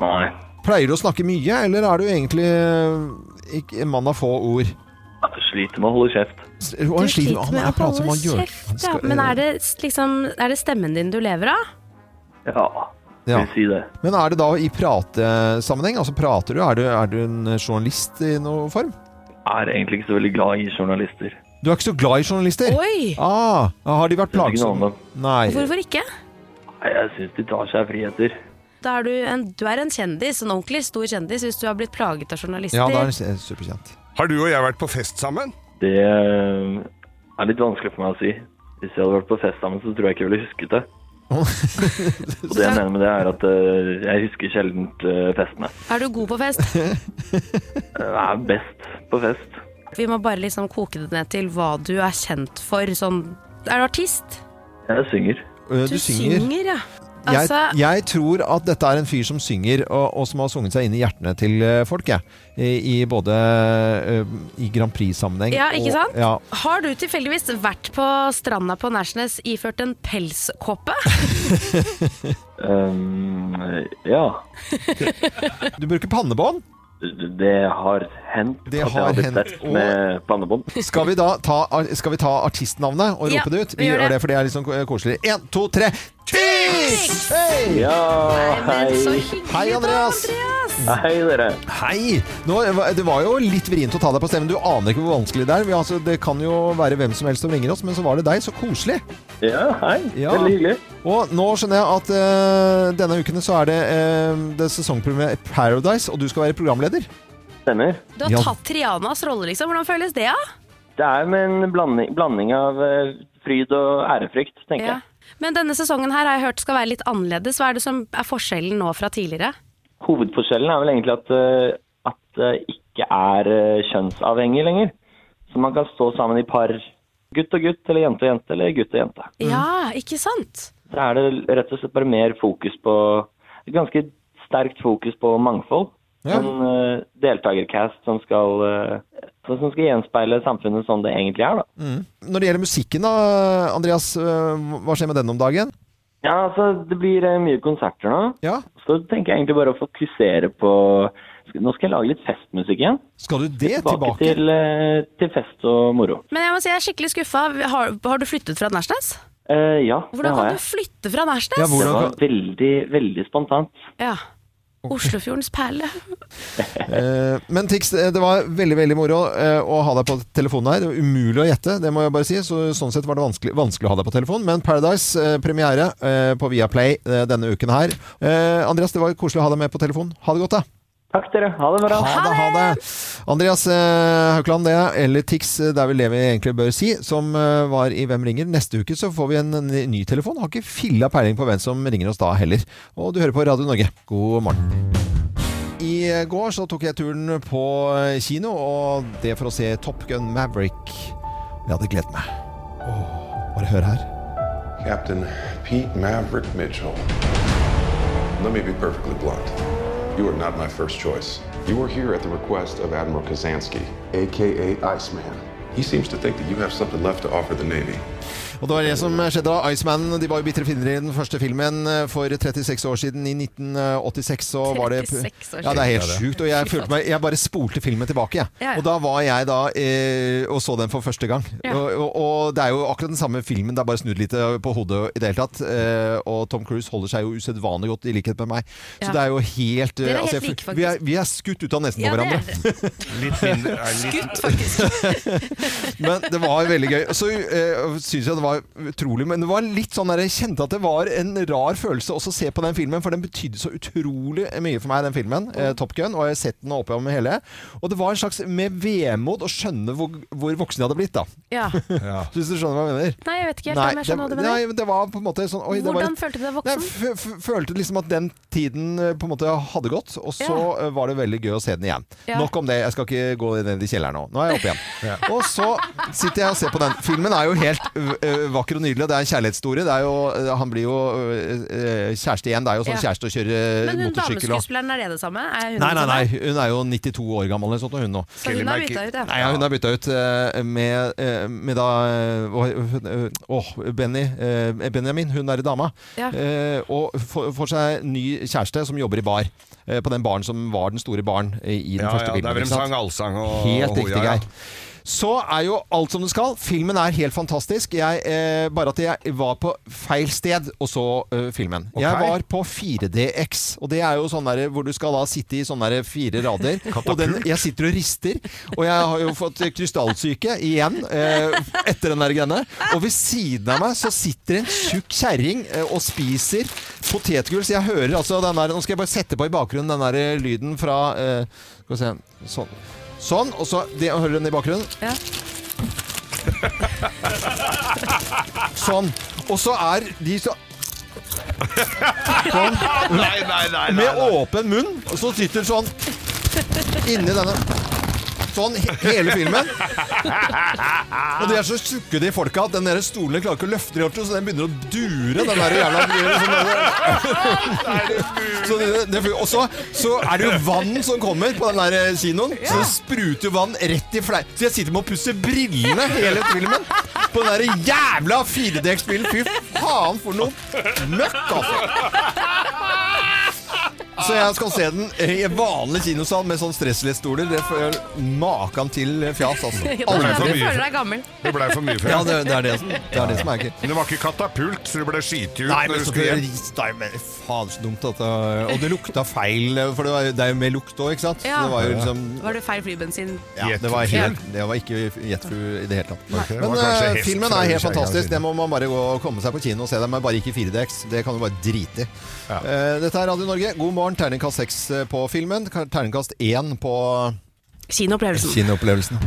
Speaker 8: Nei.
Speaker 1: Pleier du å snakke mye, eller er du egentlig eh, ikke- en mann av få ord?
Speaker 8: Jeg sliter med å holde kjeft.
Speaker 1: S- Og han sliter med å prate som han gjør. Han
Speaker 3: ja.
Speaker 1: skal-
Speaker 3: Men er det, s- liksom, er det stemmen din du lever av?
Speaker 8: Ja,
Speaker 1: Ja.
Speaker 8: vil si det.
Speaker 1: Men er det da i pratesammenheng? Altså prater du? Er du, er du en journalist i noen form?
Speaker 8: Jeg er egentlig ikke så veldig glad i journalister.
Speaker 1: Du er ikke så glad i journalister?
Speaker 3: Oi!
Speaker 1: Ah, har de vært
Speaker 8: Jeg vet ikke noe om
Speaker 1: plagsomme?
Speaker 8: dem.
Speaker 1: Nei.
Speaker 3: Hvorfor ikke?
Speaker 8: Nei, Jeg syns de tar seg friheter.
Speaker 3: Da er du, en, du er en kjendis, en ordentlig stor kjendis, hvis du har blitt plaget av journalister.
Speaker 1: Ja, da er det superkjent.
Speaker 2: Har du og jeg vært på fest sammen?
Speaker 8: Det eh, er litt vanskelig for meg å si. Hvis jeg hadde vært på fest sammen, så tror jeg ikke jeg ville husket det. Og det jeg mener med det, er at eh, jeg husker sjelden eh, festene.
Speaker 3: Er du god på fest?
Speaker 8: Jeg er best på fest.
Speaker 3: Vi må bare liksom koke det ned til hva du er kjent for. Sånn, er du artist?
Speaker 8: Jeg synger.
Speaker 1: Eh, Du synger.
Speaker 3: ja.
Speaker 1: Jeg,
Speaker 3: Altså,
Speaker 1: jeg tror at dette er en fyr som synger, og, og som har sunget seg inn i hjertene til eh, folk, jeg. I, i både eh, i Grand Prix-sammenheng
Speaker 3: ja, ikke
Speaker 1: og-
Speaker 3: sant?
Speaker 1: Ja.
Speaker 3: Har du tilfeldigvis vært på stranda på Nærsnes iført en pelskåpe?
Speaker 8: Ehm, ja.
Speaker 1: Du bruker pannebånd.
Speaker 8: Det har hendt
Speaker 1: Det
Speaker 8: at jeg
Speaker 1: har
Speaker 8: har blitt
Speaker 1: hendt,
Speaker 8: sett
Speaker 1: og-
Speaker 8: med pannebånd.
Speaker 1: Skal vi da ta, skal vi ta artistnavnet og
Speaker 3: Ja,
Speaker 1: rope det ut?
Speaker 3: vi
Speaker 1: Vi
Speaker 3: gjør
Speaker 1: gjør
Speaker 3: det.
Speaker 1: det, for det er litt sånn ko- koselig. Én, to, tre. Tix! Hei!
Speaker 8: Ja, hei.
Speaker 1: Hei, Andreas.
Speaker 8: Hei, dere.
Speaker 1: Hei! Nå, det var jo litt vrient å ta deg på stemmen. Du aner ikke hvor vanskelig det er. Vi, altså, det kan jo være hvem som helst som ringer oss, men så var det deg. Så koselig.
Speaker 8: Ja, hei.
Speaker 1: Ja.
Speaker 8: Veldig hyggelig.
Speaker 1: Og nå skjønner jeg at eh, denne uken så er det, uh, det sesongprogrammet Paradise, og du skal være programleder.
Speaker 8: Stemmer.
Speaker 3: Du har
Speaker 1: Ja.
Speaker 3: tatt Trianas rolle, liksom. Hvordan føles det, da?
Speaker 8: Det er med en blanding, blanding av eh, fryd og ærefrykt, tenker
Speaker 3: Ja.
Speaker 8: jeg.
Speaker 3: Men denne sesongen her har jeg hørt skal være litt annerledes. Hva er det som er forskjellen nå fra tidligere?
Speaker 8: Hovedforskjellen er vel egentlig at, eh, at det ikke er eh, kjønnsavhengig lenger. Så man kan stå sammen i par. Gutt og gutt, eller jente og jente, eller gutt og jente.
Speaker 1: Mm.
Speaker 3: Ja, ikke sant?
Speaker 8: Så er det rett og slett bare mer fokus på et Ganske sterkt fokus på mangfold.
Speaker 1: Ja.
Speaker 8: En eh, deltakercast som skal, eh, som skal gjenspeile samfunnet sånn det egentlig er, da.
Speaker 1: Når det gjelder musikken da, Andreas, eh, hva skjer med den om dagen?
Speaker 8: Ja, altså, det blir eh, mye konserter nå.
Speaker 1: Ja,
Speaker 8: Så tenker jeg egentlig bare å fokusere på Nå skal jeg lage litt festmusikk igjen.
Speaker 1: skal du det
Speaker 8: Tilbake
Speaker 1: tilbake?
Speaker 8: til, eh, til fest og moro.
Speaker 3: Men jeg må si jeg er skikkelig skuffa. Har, har du flyttet fra Nærsnes?
Speaker 8: Eh, ja, det
Speaker 3: Hvordan
Speaker 8: har
Speaker 3: kan du
Speaker 8: jeg.
Speaker 3: flytte fra Nærsnes?
Speaker 1: Ja,
Speaker 8: Det
Speaker 1: hvordan
Speaker 8: var
Speaker 1: kan-
Speaker 8: veldig, veldig spontant.
Speaker 3: Ja. Oslofjordens perle.
Speaker 1: Eh, men Tix, eh, det var veldig veldig moro eh, å ha deg på telefonen her. Det var umulig å gjette, det må jeg bare si. Så, sånn sett var det vanskelig, vanskelig å ha deg på telefonen. Men Paradise-premiere på Viaplay eh, denne uken her. Eh, Andreas, det var koselig å ha deg med på telefonen. Ha det godt, da.
Speaker 8: Takk, dere. Ha det bra.
Speaker 1: Ha det, ha det! Andreas eh, Haukeland, det, eller Tix, eh, det er vel det vi egentlig bør si, som eh, var i Hvem ringer. Neste uke så får vi en ny ny telefon. Har ikke filla peiling på hvem som ringer oss da heller. Og du hører på Radio Norge. God morgen. I går så tok jeg turen på eh, kino, og det for å se Top Gun Maverick. Jeg hadde gledet meg. Åh, bare hør her.
Speaker 9: Captain Pete Maverick Mitchell. Let me be perfectly blunt. You are not my first choice. You are here at the request of Admiral Kazansky, aka Iceman. He seems to think that you have something left to offer the Navy.
Speaker 1: Og det var det som skjedde da. Iceman de var jo bitre finner i den første filmen eh, for 36 år siden. I 1986 så var det
Speaker 3: 36 år
Speaker 1: Ja, det er helt sjukt. Og jeg følte meg Jeg bare spolte filmen tilbake, jeg.
Speaker 3: Ja, ja.
Speaker 1: Og da var jeg da eh, og så den for første gang.
Speaker 3: Ja.
Speaker 1: Og, og, og det er jo akkurat den samme filmen, det er bare snudd litt eh, på hodet i det hele tatt. Eh, og Tom Cruise holder seg jo usedvanlig godt, i likhet med meg. Så
Speaker 3: Ja.
Speaker 1: det er jo helt eh,
Speaker 3: Dere er helt
Speaker 1: jeg føl-
Speaker 3: like, faktisk.
Speaker 1: vi, er, vi er skutt ut av nesen på
Speaker 3: Ja, det
Speaker 1: hverandre.
Speaker 3: er det.
Speaker 2: Litt mindre, er litt,
Speaker 1: Men det var veldig gøy. Og så uh, syns jeg det var utrolig. Men det var litt sånn der, jeg kjente at det var en rar følelse også å se på den filmen, for den betydde så utrolig mye for meg, den filmen. Eh, Top Gun. Og jeg har sett den opp gjennom hele. Og det var en slags med vemod å skjønne hvor, hvor voksen jeg hadde blitt, da.
Speaker 3: Ja.
Speaker 1: Så Hvis du skjønner hva jeg mener?
Speaker 3: Nei, jeg vet ikke helt om jeg skjønner hva du
Speaker 1: det,
Speaker 3: mener.
Speaker 1: nei, men det var på en måte sånn oi, det var
Speaker 3: Hvordan
Speaker 1: litt-
Speaker 3: følte du deg
Speaker 1: Nei,
Speaker 3: voksen?
Speaker 1: f- f- følte liksom at den tiden eh, på en måte hadde gått, og så
Speaker 3: Ja.
Speaker 1: eh, var det veldig gøy å se den igjen.
Speaker 3: Ja.
Speaker 1: Nok om det, jeg skal ikke gå ned i kjelleren nå. Nå er jeg oppe igjen. Og så sitter jeg og ser på den. Filmen er jo helt ø, ø, vakker og nydelig, og det er en kjærlighetsstory. Det er jo, ø, han blir jo ø, ø, kjæreste igjen. Det er jo sånn
Speaker 3: Ja.
Speaker 1: kjæreste å kjøre
Speaker 3: Men hun
Speaker 1: motorsykkel og
Speaker 3: dameskuespilleren, er det det samme? Er hun
Speaker 1: Nei, nei,
Speaker 3: det
Speaker 1: nei.
Speaker 3: samme?
Speaker 1: Hun er jo 92 år gammel eller sånt, og hun nå.
Speaker 3: Så hun er bytta ut, ja.
Speaker 1: Nei, ja, hun er bytta ut eh, med, eh, med da eh, hva- eh, Åh, Benny eh, Benjamin, hun derre dama.
Speaker 10: Ja.
Speaker 1: Eh, og får får seg ny kjæreste som jobber i bar. eh, På den baren som var den store baren eh, i den
Speaker 2: Ja,
Speaker 1: første
Speaker 2: ja,
Speaker 1: filmen.
Speaker 2: der hvor de
Speaker 1: ikke sant?
Speaker 2: sang allsang og-
Speaker 1: Helt
Speaker 2: og
Speaker 1: riktig,
Speaker 2: hoia, ja.
Speaker 1: Geir. Så er jo alt som det skal. Filmen er helt fantastisk. Jeg, eh, bare at jeg var på feil sted og så eh, filmen.
Speaker 10: Ok.
Speaker 1: Jeg var på 4DX, og det er jo sånn der hvor du skal da sitte i sånne der fire rader. og den, jeg sitter og rister, og jeg har jo fått krystallsyke igjen eh, etter den der greiene. Og ved siden av meg så sitter en tjukk kjerring eh, og spiser potetgull, så jeg hører altså den der Nå skal jeg bare sette på i bakgrunnen den der eh, lyden fra eh, Skal vi se Sånn. Sånn, og så det, Hører du den i bakgrunnen?
Speaker 3: Ja.
Speaker 1: Sånn. Og så er de så Sånn.
Speaker 2: Nei, nei, nei, nei,
Speaker 1: Med
Speaker 2: nei.
Speaker 1: åpen munn, og så sitter sånn inni denne Sånn he hele filmen. Og de er så tjukke, de folka, at den der stolen klarer ikke å løfte de ordentlig, så den begynner å dure. Den der jævla så det, det, og så, så er det jo vann som kommer på den der eh, kinoen, så det spruter jo vann rett i flei. Så jeg sitter med å pusse brillene hele filmen på den der jævla 4DX-bilen. Fy faen, for noe møkk, altså! Så jeg skal se den i en vanlig kinosal med sånn stressless-stoler. Det får Maken til fjas, altså.
Speaker 3: Du
Speaker 1: Aldri
Speaker 3: føler du føler deg gammel.
Speaker 2: Det blei for mye for
Speaker 1: Ja, det, det er det som, det er det som er ikke
Speaker 2: Men det var ikke katapult, så du ble skytet ut
Speaker 1: Nei,
Speaker 2: når
Speaker 1: men
Speaker 2: du
Speaker 1: så
Speaker 2: skulle hjem.
Speaker 1: Nei, men faen så dumt at det, Og det lukta feil, eh, for det, var, jo- det er jo mer lukt òg, ikke sant? Så
Speaker 3: Ja.
Speaker 1: det var jo liksom
Speaker 3: Var det feil flybensin?
Speaker 1: ja, det, var helt, det var ikke jetfru i det hele tatt.
Speaker 2: det var
Speaker 1: Men
Speaker 2: kanskje
Speaker 1: eh,
Speaker 2: helt
Speaker 1: filmen
Speaker 2: fra
Speaker 1: er helt
Speaker 2: Kjærgaard
Speaker 1: fantastisk.
Speaker 2: siden.
Speaker 1: Det må man bare gå og komme seg på kino og se. Den men bare ikke i 4DX. Det kan du bare drite i. Eh, dette er Radio Norge. God morgen. Terningkast 6 på filmen. Ka- Terningkast 1 på
Speaker 3: Kinoopplevelsen.
Speaker 1: Kinoopplevelsen.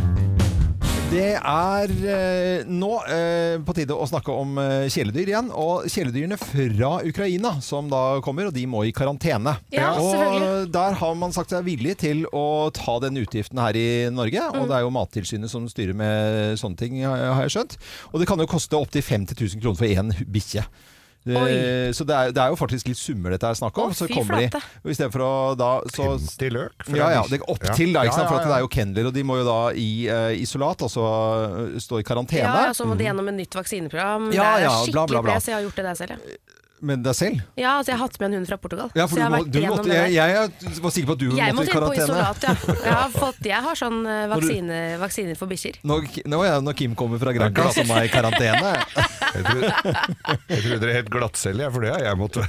Speaker 1: Det er eh, nå eh, på tide å snakke om eh, kjæledyr igjen. Og kjæledyrene fra Ukraina som da kommer, og de må i karantene.
Speaker 10: Ja,
Speaker 1: og
Speaker 10: selvfølgelig.
Speaker 1: der har man sagt seg villig til å ta den utgiften her i Norge.
Speaker 10: Mm.
Speaker 1: Og det er jo Mattilsynet som styrer med sånne ting, har har jeg skjønt. Og det kan jo koste opptil 50 000 kroner for én hu- bikkje. Eh,
Speaker 10: Oi.
Speaker 1: Så det er, det er jo faktisk litt summer dette er snakk om.
Speaker 10: Å,
Speaker 1: så
Speaker 10: fy
Speaker 1: kommer de,
Speaker 10: flate.
Speaker 1: og i stedet for å da så,
Speaker 2: 50 løk? for
Speaker 1: Ja,
Speaker 2: en
Speaker 1: ja,
Speaker 2: bikkje.
Speaker 1: det, opp
Speaker 2: Ja.
Speaker 1: til da, ikke
Speaker 2: Ja,
Speaker 1: sant? For
Speaker 2: ja,
Speaker 1: at det er jo kennler, og de må jo da i eh, isolat, altså eh, stå i karantene.
Speaker 3: Ja, ja, så må de gjennom et nytt vaksineprogram.
Speaker 1: Mm. Ja,
Speaker 3: det er
Speaker 1: ja, bla,
Speaker 3: skikkelig
Speaker 1: bla, bla.
Speaker 3: press. Jeg har gjort det der selv, jeg.
Speaker 1: Men deg selv?
Speaker 3: Ja, altså, jeg har hatt med en hund fra Portugal.
Speaker 1: Ja, for
Speaker 3: så jeg
Speaker 1: du,
Speaker 3: har
Speaker 1: må,
Speaker 3: vært
Speaker 1: du
Speaker 3: gjennom
Speaker 1: måtte,
Speaker 3: det der.
Speaker 1: jeg, jeg var sikker på at du
Speaker 3: Jeg
Speaker 1: måtte
Speaker 3: måtte
Speaker 1: i
Speaker 3: inn på
Speaker 1: karantene.
Speaker 3: isolat, ja. Jeg har, fått, jeg har sånn eh,
Speaker 1: Når du-
Speaker 3: vaksine, vaksiner for bikkjer.
Speaker 1: Når, nå, ja, når Kim kommer fra Granca, som er i karantene.
Speaker 2: Jeg trodde- Jeg trodde det het glattcelle, jeg, for det har jeg måttet.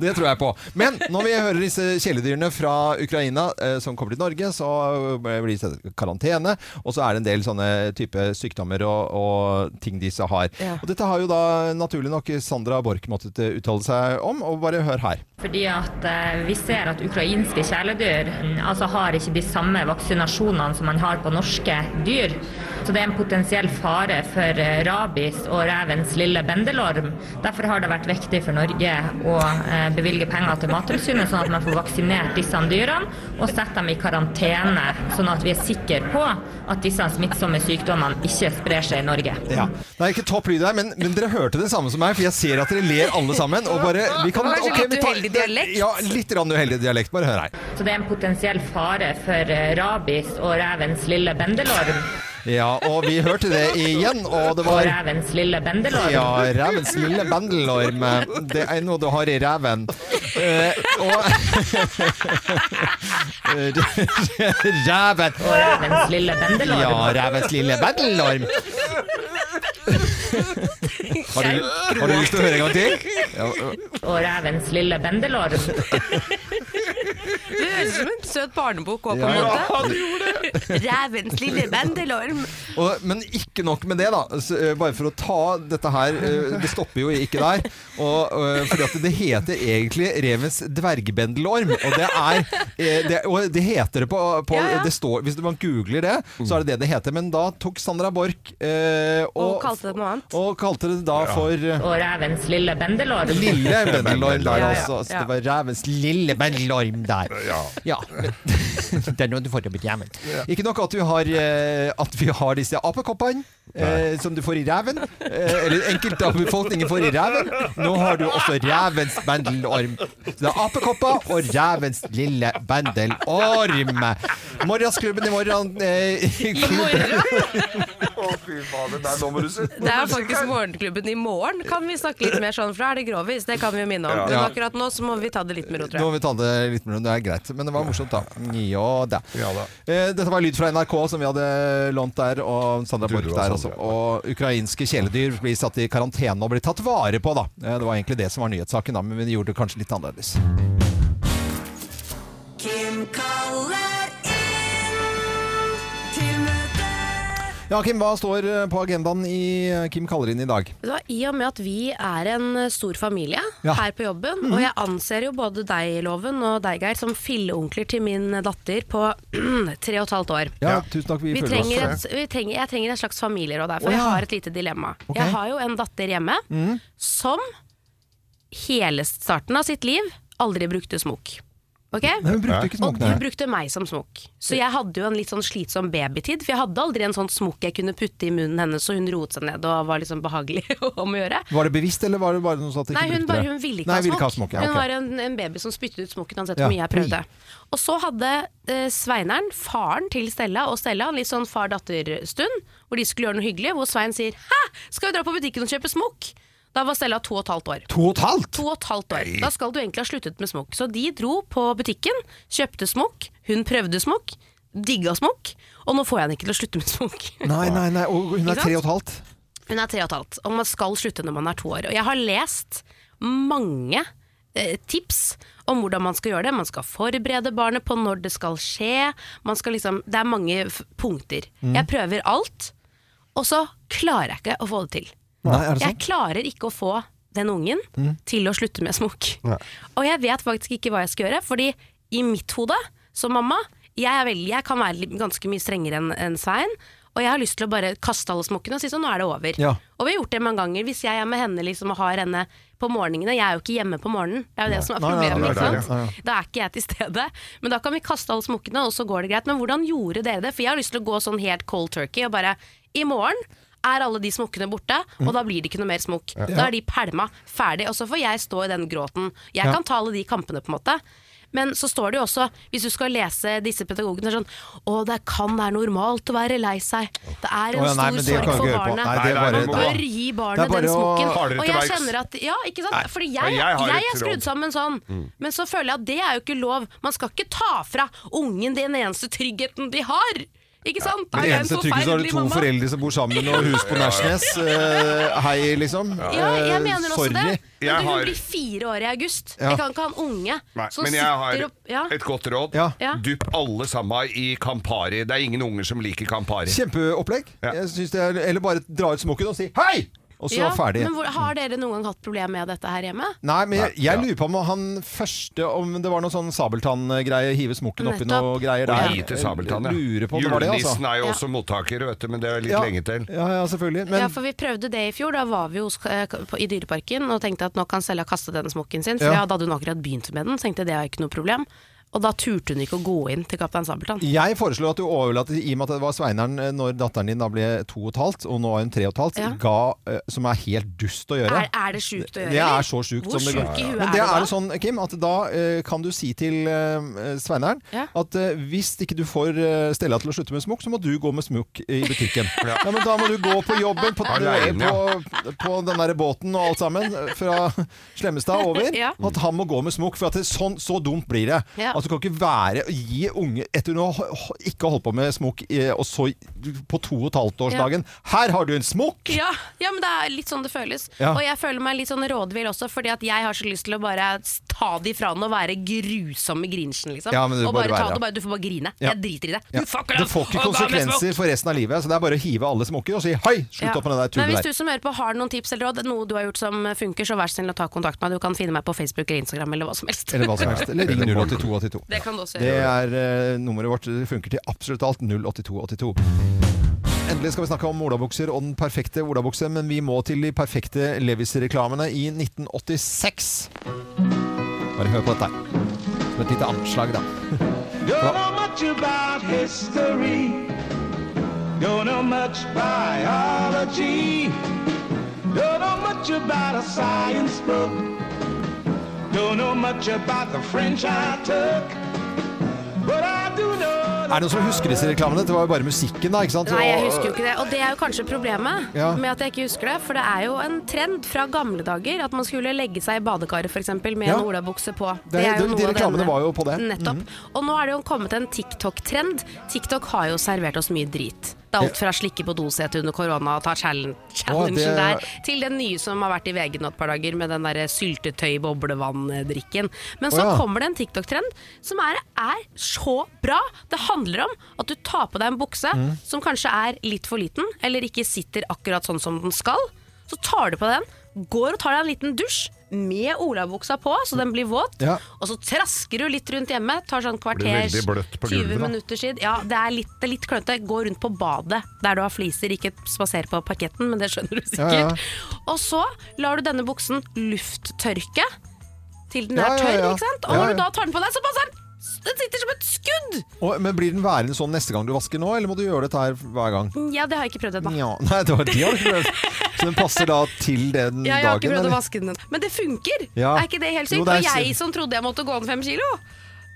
Speaker 1: Det tror jeg på. Men når vi hører disse kjæledyrene fra Ukraina eh, som kommer til Norge, så eh, blir de satt i karantene, og så er det en del sånne type sykdommer og, og ting disse har.
Speaker 11: Ja.
Speaker 1: Og dette har jo da naturlig nok Sandra Borch måttet eh, uttale seg om, og bare hør her.
Speaker 11: Fordi at eh, vi ser at ukrainske kjæledyr mm, altså har ikke de samme vaksinasjonene som man har på norske dyr. Så det er en potensiell fare for eh, rabies og revens lille bendelorm. Derfor har det vært viktig for Norge å eh, bevilge penger til Mattilsynet, sånn at man får vaksinert disse dyrene og sette dem i karantene, sånn at vi er sikre på at disse smittsomme sykdommene ikke sprer seg i Norge.
Speaker 1: Ja. Det er ikke topp lyd her, men, men dere hørte det samme som meg, for jeg ser at dere ler alle sammen. Og bare, vi kan,
Speaker 11: Det var kanskje
Speaker 1: ok,
Speaker 11: litt
Speaker 1: vi tar-
Speaker 11: uheldig dialekt.
Speaker 1: Ja, litt grann uheldig dialekt. Bare hør her.
Speaker 11: Så det er en potensiell fare for eh, rabies og revens lille bendelorm.
Speaker 1: Ja, og vi hørte det igjen, og det var
Speaker 11: Og revens lille bendelorm.
Speaker 1: Ja, revens lille bendelorm. Det er noe du har i reven. Eh, og Reven!
Speaker 11: Og revens lille bendelorm.
Speaker 1: Ja, revens lille bendelorm. Har du, har du lyst til å høre en gang til? Ja,
Speaker 11: Og revens lille bendelorm.
Speaker 3: Det høres ut som en søt barnebok òg, på en
Speaker 1: Ja.
Speaker 3: måte.
Speaker 1: Ja, det
Speaker 3: gjorde det. Rævens lille bendelorm.
Speaker 1: Og, men ikke nok med det, da. Så, eh, bare for å ta dette her eh, Det stopper jo ikke der. Og, eh, fordi at det heter egentlig revens dvergbendelorm. Og det er eh, det, og det heter det på, på
Speaker 3: Ja, ja.
Speaker 1: Det står, Hvis man googler det, så er det det det heter. Men da tok Sandra Borch eh,
Speaker 3: Og kalte det noe annet.
Speaker 1: og kalte det da for eh,
Speaker 11: Og revens lille bendelår.
Speaker 1: Lille bendelorm
Speaker 11: Ja,
Speaker 1: der
Speaker 11: ja,
Speaker 1: også. Så
Speaker 11: ja.
Speaker 1: det var rævens lille bendelorm der. Ja. det er noe du får til å betjene. Ikke nok at vi har, eh, at vi har disse apekoppene eh, som du får i ræven. Eh, eller enkelte av befolkningen får i ræven. Nå har du også rævens bendelorm. Så det er apekopper og rævens lille bendelorm. Morgensklubben i morgen eh,
Speaker 2: Å, fy fader. Nei, nå må du se.
Speaker 3: Det er faktisk Morgenklubben i morgen. Kan vi snakke litt mer sånn, for da er det grovis. Det kan vi jo minne om.
Speaker 1: Ja.
Speaker 3: Men akkurat nå så må vi ta det litt med ro,
Speaker 1: Nå
Speaker 3: tror
Speaker 1: må
Speaker 3: jeg.
Speaker 1: vi ta det litt mellom, det er greit. Men det var morsomt, da. Ja da. Eh, Dette var lyd fra NRK som vi hadde lånt der, og Sandra Borch der også. Og ukrainske kjæledyr blir satt i karantene og blir tatt vare på, da. Eh, Det var egentlig det som var nyhetssaken, da, men vi gjorde det kanskje litt annerledes.
Speaker 7: Kim kaller inn til møte.
Speaker 1: Ja, Kim, hva står eh, på agendaen i eh, Kim kaller inn i dag?
Speaker 3: Vet du hva, I og med at vi er en eh, stor familie
Speaker 1: Ja.
Speaker 3: her på jobben, og jeg anser jo både deg, Loven, og deg, Geir, som filleonkler til min datter på tre og et halvt år.
Speaker 1: Ja, tusen takk. Vi,
Speaker 3: Vi
Speaker 1: føler
Speaker 3: trenger
Speaker 1: oss
Speaker 3: et, vi trenger, jeg trenger en slags familieråd her, for
Speaker 1: Å, ja.
Speaker 3: jeg har et lite dilemma.
Speaker 1: Ok.
Speaker 3: Jeg har jo en datter hjemme
Speaker 1: Mm.
Speaker 3: som hele starten av sitt liv aldri brukte smokk. Ok?
Speaker 1: Nei, hun brukte ikke smokk,
Speaker 3: og
Speaker 1: nei.
Speaker 3: hun brukte meg som smokk. Så jeg hadde jo en litt sånn slitsom babytid, for jeg hadde aldri en sånn smokk jeg kunne putte i munnen hennes, så hun roet seg ned og var liksom behagelig om å gjøre.
Speaker 1: Var det bevisst, eller var det bare noe sånt at de
Speaker 3: Nei,
Speaker 1: ikke
Speaker 3: hun,
Speaker 1: brukte
Speaker 3: bare,
Speaker 1: det?
Speaker 3: hun ville ikke
Speaker 1: Nei,
Speaker 3: ha smokk.
Speaker 1: ja,
Speaker 3: Hun
Speaker 1: ok.
Speaker 3: var en, en baby som spyttet ut smokken uansett
Speaker 1: Ja, Mm.
Speaker 3: hvor mye jeg prøvde. Og så hadde eh, Sveineren, faren til Stella og Stella, en litt sånn far-datter-stund, hvor de skulle gjøre noe hyggelig, hvor Svein sier 'hæ, skal vi dra på butikken og kjøpe smokk?' Da var Stella to og et halvt år.
Speaker 1: To og et halvt?
Speaker 3: To og et halvt år. Da skal du egentlig ha sluttet med smokk. Så de dro på butikken, kjøpte smokk, hun prøvde smokk, digga smokk, og nå får jeg henne ikke til å slutte med smokk.
Speaker 1: Nei, nei, nei. Og hun
Speaker 3: Ikke
Speaker 1: er
Speaker 3: sant?
Speaker 1: tre og et halvt.
Speaker 3: Hun er tre og et halvt, og man skal slutte når man er to år. Og jeg har lest mange eh, tips om hvordan man skal gjøre det. Man skal forberede barnet på når det skal skje. Man skal liksom, det er mange f punkter.
Speaker 10: Mm.
Speaker 3: Jeg prøver alt, og så klarer jeg ikke å få det til.
Speaker 10: Nei, er det
Speaker 3: jeg klarer ikke å få den ungen
Speaker 10: Mm.
Speaker 3: til å slutte med smokk. Og jeg vet faktisk ikke hva jeg skal gjøre, fordi i mitt hode, som mamma, jeg, er veldig, jeg kan være litt- ganske mye strengere enn enn Svein, og jeg har lyst til å bare kaste alle smokkene og si sånn, nå er det over.
Speaker 10: Ja.
Speaker 3: Og vi har gjort det mange ganger. Hvis jeg er med henne liksom, og har henne på morgenene Jeg er jo ikke hjemme på morgenen, det er jo det som er
Speaker 10: Nei, nei,
Speaker 3: problemet.
Speaker 10: nei,
Speaker 3: ikke
Speaker 10: nei, nei,
Speaker 3: sant?
Speaker 10: nei, nei.
Speaker 3: Da er ikke jeg til stede. Men da kan vi kaste alle smokkene, og så går det greit. Men hvordan gjorde dere det? For jeg har lyst til å gå sånn helt cold turkey og bare I morgen er alle de smokkene borte, og da blir det ikke noe mer smokk.
Speaker 10: Ja.
Speaker 3: Da er de pælma, ferdig, og så får jeg stå i den gråten. Jeg
Speaker 10: Ja.
Speaker 3: kan ta alle de kampene, på en måte. Men så står det jo også, hvis du skal lese disse pedagogene, sånn Å, det kan være normalt å være lei seg. Det er en
Speaker 1: Å ja, nei, men
Speaker 3: stor
Speaker 1: det kan du
Speaker 3: sorg
Speaker 1: ikke
Speaker 3: for
Speaker 1: høre på.
Speaker 3: barnet.
Speaker 1: Nei, det er
Speaker 3: Man
Speaker 1: bare-
Speaker 3: bør
Speaker 1: det er-
Speaker 3: gi
Speaker 1: det er
Speaker 3: barnet
Speaker 1: bare
Speaker 3: den smokken.
Speaker 1: å- Hardere
Speaker 3: Og
Speaker 1: til
Speaker 3: jeg
Speaker 1: verks.
Speaker 3: kjenner at Ja, ikke sant?
Speaker 1: Nei.
Speaker 3: Fordi
Speaker 1: Nei,
Speaker 3: jeg,
Speaker 1: jeg
Speaker 3: jeg,
Speaker 1: har et
Speaker 3: er
Speaker 1: råd.
Speaker 3: skrudd sammen sånn.
Speaker 1: Mm.
Speaker 3: Men så føler jeg at det er jo ikke lov. Man skal ikke ta fra ungen den eneste tryggheten de har. Ikke sant?
Speaker 1: Men
Speaker 3: Er
Speaker 1: det
Speaker 3: jeg en
Speaker 1: eneste trygge så er det
Speaker 3: forferdelig
Speaker 1: to
Speaker 3: mamma?
Speaker 1: foreldre som bor sammen og hus på Nærsnes. Eh, hei, liksom.
Speaker 3: Ja, jeg mener
Speaker 1: Eh,
Speaker 3: også
Speaker 1: sorry.
Speaker 3: det. Men
Speaker 2: Jeg
Speaker 3: du,
Speaker 2: har-
Speaker 3: hun blir fire år i august.
Speaker 2: Ja.
Speaker 3: Jeg kan ikke ha en unge
Speaker 2: Nei,
Speaker 3: som
Speaker 2: men jeg
Speaker 3: sitter
Speaker 2: har
Speaker 3: opp ja.
Speaker 2: et godt råd.
Speaker 3: Ja.
Speaker 2: Dupp alle sammen i Campari. Det er ingen unger som liker Campari.
Speaker 1: Kjempeopplegg. Jeg synes det er, eller bare dra ut smokken og si hei! Og så
Speaker 3: Ja,
Speaker 1: ferdig.
Speaker 3: Men hvor, har dere noen gang hatt problemer med dette her hjemme?
Speaker 1: Nei, men jeg, jeg lurer på om han første Om det var noe sånn sabeltann-greie, hive smokken oppi
Speaker 3: Nettopp.
Speaker 1: noe greier
Speaker 2: Og
Speaker 1: der.
Speaker 2: gi til Sabeltann, ja.
Speaker 1: Lurer på om det var det, altså.
Speaker 2: Julenissen er jo også mottaker, vet du, men det er litt
Speaker 1: Ja.
Speaker 2: lenge til.
Speaker 1: Ja, ja, selvfølgelig. Men
Speaker 3: ja, for Vi prøvde det i fjor. Da var vi hos, eh, på- i Dyreparken og tenkte at nå kan Stella kaste denne smokken sin. For
Speaker 1: Ja.
Speaker 3: ja. Da hadde hun akkurat begynt med den, så tenkte jeg det er ikke noe problem. Og da turte hun ikke å gå inn til Kaptein Sabeltann.
Speaker 1: jeg foreslår at du overlater, i og med at det var Sveineren eh, når datteren din da ble to og et halvt, og nå er hun tre og et halvt,
Speaker 3: Ja.
Speaker 1: ga, eh, som er helt dust å gjøre.
Speaker 3: Er, er det sjukt å gjøre?
Speaker 1: Det er
Speaker 3: eller?
Speaker 1: så sjukt
Speaker 3: eh, Hvor
Speaker 1: som det går.
Speaker 3: sjuk i huet
Speaker 1: Men det
Speaker 3: er du da?
Speaker 1: er det sånn, Kim, at da eh, kan du si til eh, Sveineren at eh, hvis ikke du får eh, Stella til å slutte med smokk, så må du gå med smokk i butikken. ja. men da må du gå på jobben, på, eh,
Speaker 2: Alene,
Speaker 1: på, på den derre båten og alt sammen, eh, fra Slemmestad over.
Speaker 2: Ja.
Speaker 1: At han må gå med smokk. For at det, sånn, så dumt blir det.
Speaker 2: Ja.
Speaker 1: At du kan ikke være gi unge Etter nå ho- ho- ikke å holde på med smokk, eh, og så på to og et halvt årsdagen Her har du en smokk!
Speaker 3: Ja, ja, men det er litt sånn det føles.
Speaker 1: Ja.
Speaker 3: Og jeg føler meg litt sånn rådvill også, fordi at jeg har så lyst til å bare ta det ifra den og være grusomme grinchen, liksom.
Speaker 1: Ja, men du
Speaker 3: og
Speaker 1: bare
Speaker 3: bare ta
Speaker 1: være.
Speaker 3: det, og bare, du får bare grine.
Speaker 1: Ja.
Speaker 3: Jeg driter i det.
Speaker 1: Ja.
Speaker 3: Du fucker
Speaker 1: Det får ikke konsekvenser for resten av livet, så det er bare å hive alle smokker og si hei, slutt opp med det der
Speaker 3: Men hvis
Speaker 1: tullet
Speaker 3: du
Speaker 1: der.
Speaker 3: som hører på har noen tips eller råd, noe du har gjort som funker, så vær så snill å ta kontakt med meg. Du kan finne meg på Facebook eller Instagram eller hva som helst.
Speaker 1: Eller hva som helst. Eller ring 08282.
Speaker 3: Det kan du også
Speaker 1: Det
Speaker 3: gjøre.
Speaker 1: er eh, nummeret vårt. Det funker til absolutt alt. 08282. Endelig skal vi snakke om olabukser og den perfekte olabukse, men vi må til de perfekte Levis-reklamene i 1986. Bare hør på dette her. Som et lite anslag, da.
Speaker 10: Don't know much about history. Don't know much biology. Don't know much about a science book. Don't know much about the French I took. But I do know.
Speaker 1: Er det noen som husker disse reklamene? Det var jo bare musikken, da. ikke sant?
Speaker 3: Nei, jeg
Speaker 1: Og-
Speaker 3: husker jo ikke det. Og det er jo kanskje problemet
Speaker 1: Ja.
Speaker 3: med at jeg ikke husker det. For det er jo en trend fra gamle dager at man skulle legge seg i badekaret f.eks. med
Speaker 1: Ja.
Speaker 3: en olabukse på.
Speaker 1: Det- de- de reklamene var jo på det.
Speaker 3: Nettopp.
Speaker 1: Mhm.
Speaker 3: Og nå er det jo kommet en TikTok-trend. TikTok har jo servert oss mye drit. Det er alt fra slikke på dosetet under korona og ta challenge, challengen
Speaker 12: det-
Speaker 3: der, til den nye som har vært i VG nå et par dager med den derre syltetøy-boblevann-drikken. Men så
Speaker 12: Å, ja.
Speaker 3: kommer det en TikTok-trend som er, er så bra. Det handler om at du tar på deg en bukse
Speaker 12: Mm.
Speaker 3: som kanskje er litt for liten, eller ikke sitter akkurat sånn som den skal. Så tar du på den, går og tar deg en liten dusj med olabuksa på, så den blir våt.
Speaker 2: Ja.
Speaker 3: Og så trasker du litt rundt hjemme, tar sånn
Speaker 2: Blir
Speaker 3: kvarter,
Speaker 2: veldig bløtt på
Speaker 3: 20
Speaker 2: gulvet, da.
Speaker 3: minutter siden. Ja, det er litt, det er litt klønete. Gå rundt på badet der du har fliser, ikke spaser på parketten, men det skjønner du sikkert.
Speaker 12: Ja, ja.
Speaker 3: Og så lar du denne buksen lufttørke til den
Speaker 1: Ja, ja,
Speaker 3: er tørr,
Speaker 1: ja.
Speaker 3: ikke sant?
Speaker 1: Ja,
Speaker 3: Og når
Speaker 1: ja.
Speaker 3: du da tar den på deg, så passer den! Den sitter som et skudd!
Speaker 1: Og, men Blir den værende sånn neste gang du vasker nå, eller må du gjøre dette her hver gang?
Speaker 3: Ja, det har jeg ikke prøvd ennå.
Speaker 1: Ja, nei, det var de har ikke prøvd. Så den passer da til den
Speaker 3: Ja, jeg har
Speaker 1: dagen?
Speaker 3: ikke prøvd
Speaker 1: eller?
Speaker 3: å vaske den. Men det funker!
Speaker 1: Ja.
Speaker 3: Er ikke det helt sykt?
Speaker 1: Jo, det er
Speaker 3: Og jeg
Speaker 1: sykt.
Speaker 3: som trodde jeg måtte gå ned fem kilo!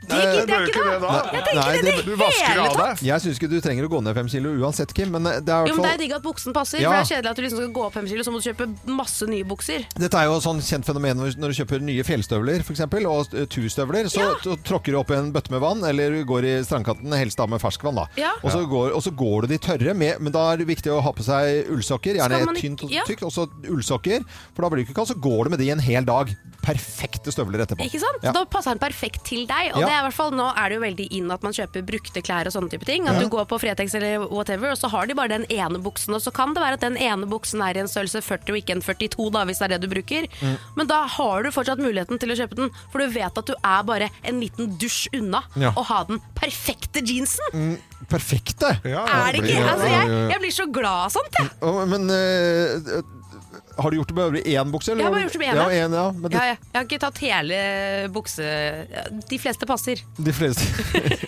Speaker 3: Det
Speaker 1: Nei,
Speaker 3: gidder
Speaker 1: det
Speaker 3: jeg
Speaker 1: bør
Speaker 3: ikke
Speaker 1: ikke
Speaker 3: da! Ah, Jeg tenker
Speaker 1: Nei,
Speaker 3: ikke det, i det hele tatt!
Speaker 1: Jeg syns ikke du trenger å gå ned fem kilo uansett, Kim, men eh, det er i hvert
Speaker 3: Jo, men Det
Speaker 1: fall
Speaker 3: er digg at buksen passer,
Speaker 1: Ja.
Speaker 3: for det er kjedelig at du liksom skal gå opp fem kilo, så må du kjøpe masse nye bukser.
Speaker 1: dette er jo et sånn kjent fenomen når når du kjøper nye fjellstøvler for eksempel, og eh, turstøvler. Så t- tråkker du opp i en bøtte med vann, eller du går i strandkanten, helst da med ferskvann. da.
Speaker 3: Ja.
Speaker 1: Og, så går, og så går du de tørre, med, men da er det viktig å ha på seg ullsokker. Gjerne
Speaker 3: Skal man
Speaker 1: et tynt
Speaker 3: ikke-
Speaker 1: og
Speaker 3: ja.
Speaker 1: tykt, og så ullsokker, for da blir du ikke kald. Så går du med de en hel dag. Perfekte støvler etterpå.
Speaker 3: Ikke sant?
Speaker 1: Ja.
Speaker 3: Da passer den perfekt til deg. Og
Speaker 1: Ja.
Speaker 3: det er i hvert fall, Nå er det jo veldig inn at man kjøper brukte klær og sånne type ting. At
Speaker 1: Ja.
Speaker 3: du går på Fretex eller whatever, og så har de bare den ene buksen. Og så kan det være at den ene buksen er i en størrelse 40 og ikke en 42, da, hvis det er det du bruker.
Speaker 12: Mm.
Speaker 3: Men da har du fortsatt muligheten til å kjøpe den, for du vet at du er bare en liten dusj unna
Speaker 1: Ja.
Speaker 3: å ha den perfekte jeansen.
Speaker 1: Mm, perfekte!
Speaker 3: Er det ikke? Altså, jeg, jeg blir så glad av sånt, jeg.
Speaker 1: Å, Men eh, har du gjort det med øvrig én bukse? eller?
Speaker 3: Jeg har bare gjort det med ene.
Speaker 1: Ja, en, ja. Men det,
Speaker 3: Ja, ja. Jeg har ikke tatt hele bukse... De fleste passer.
Speaker 1: de fleste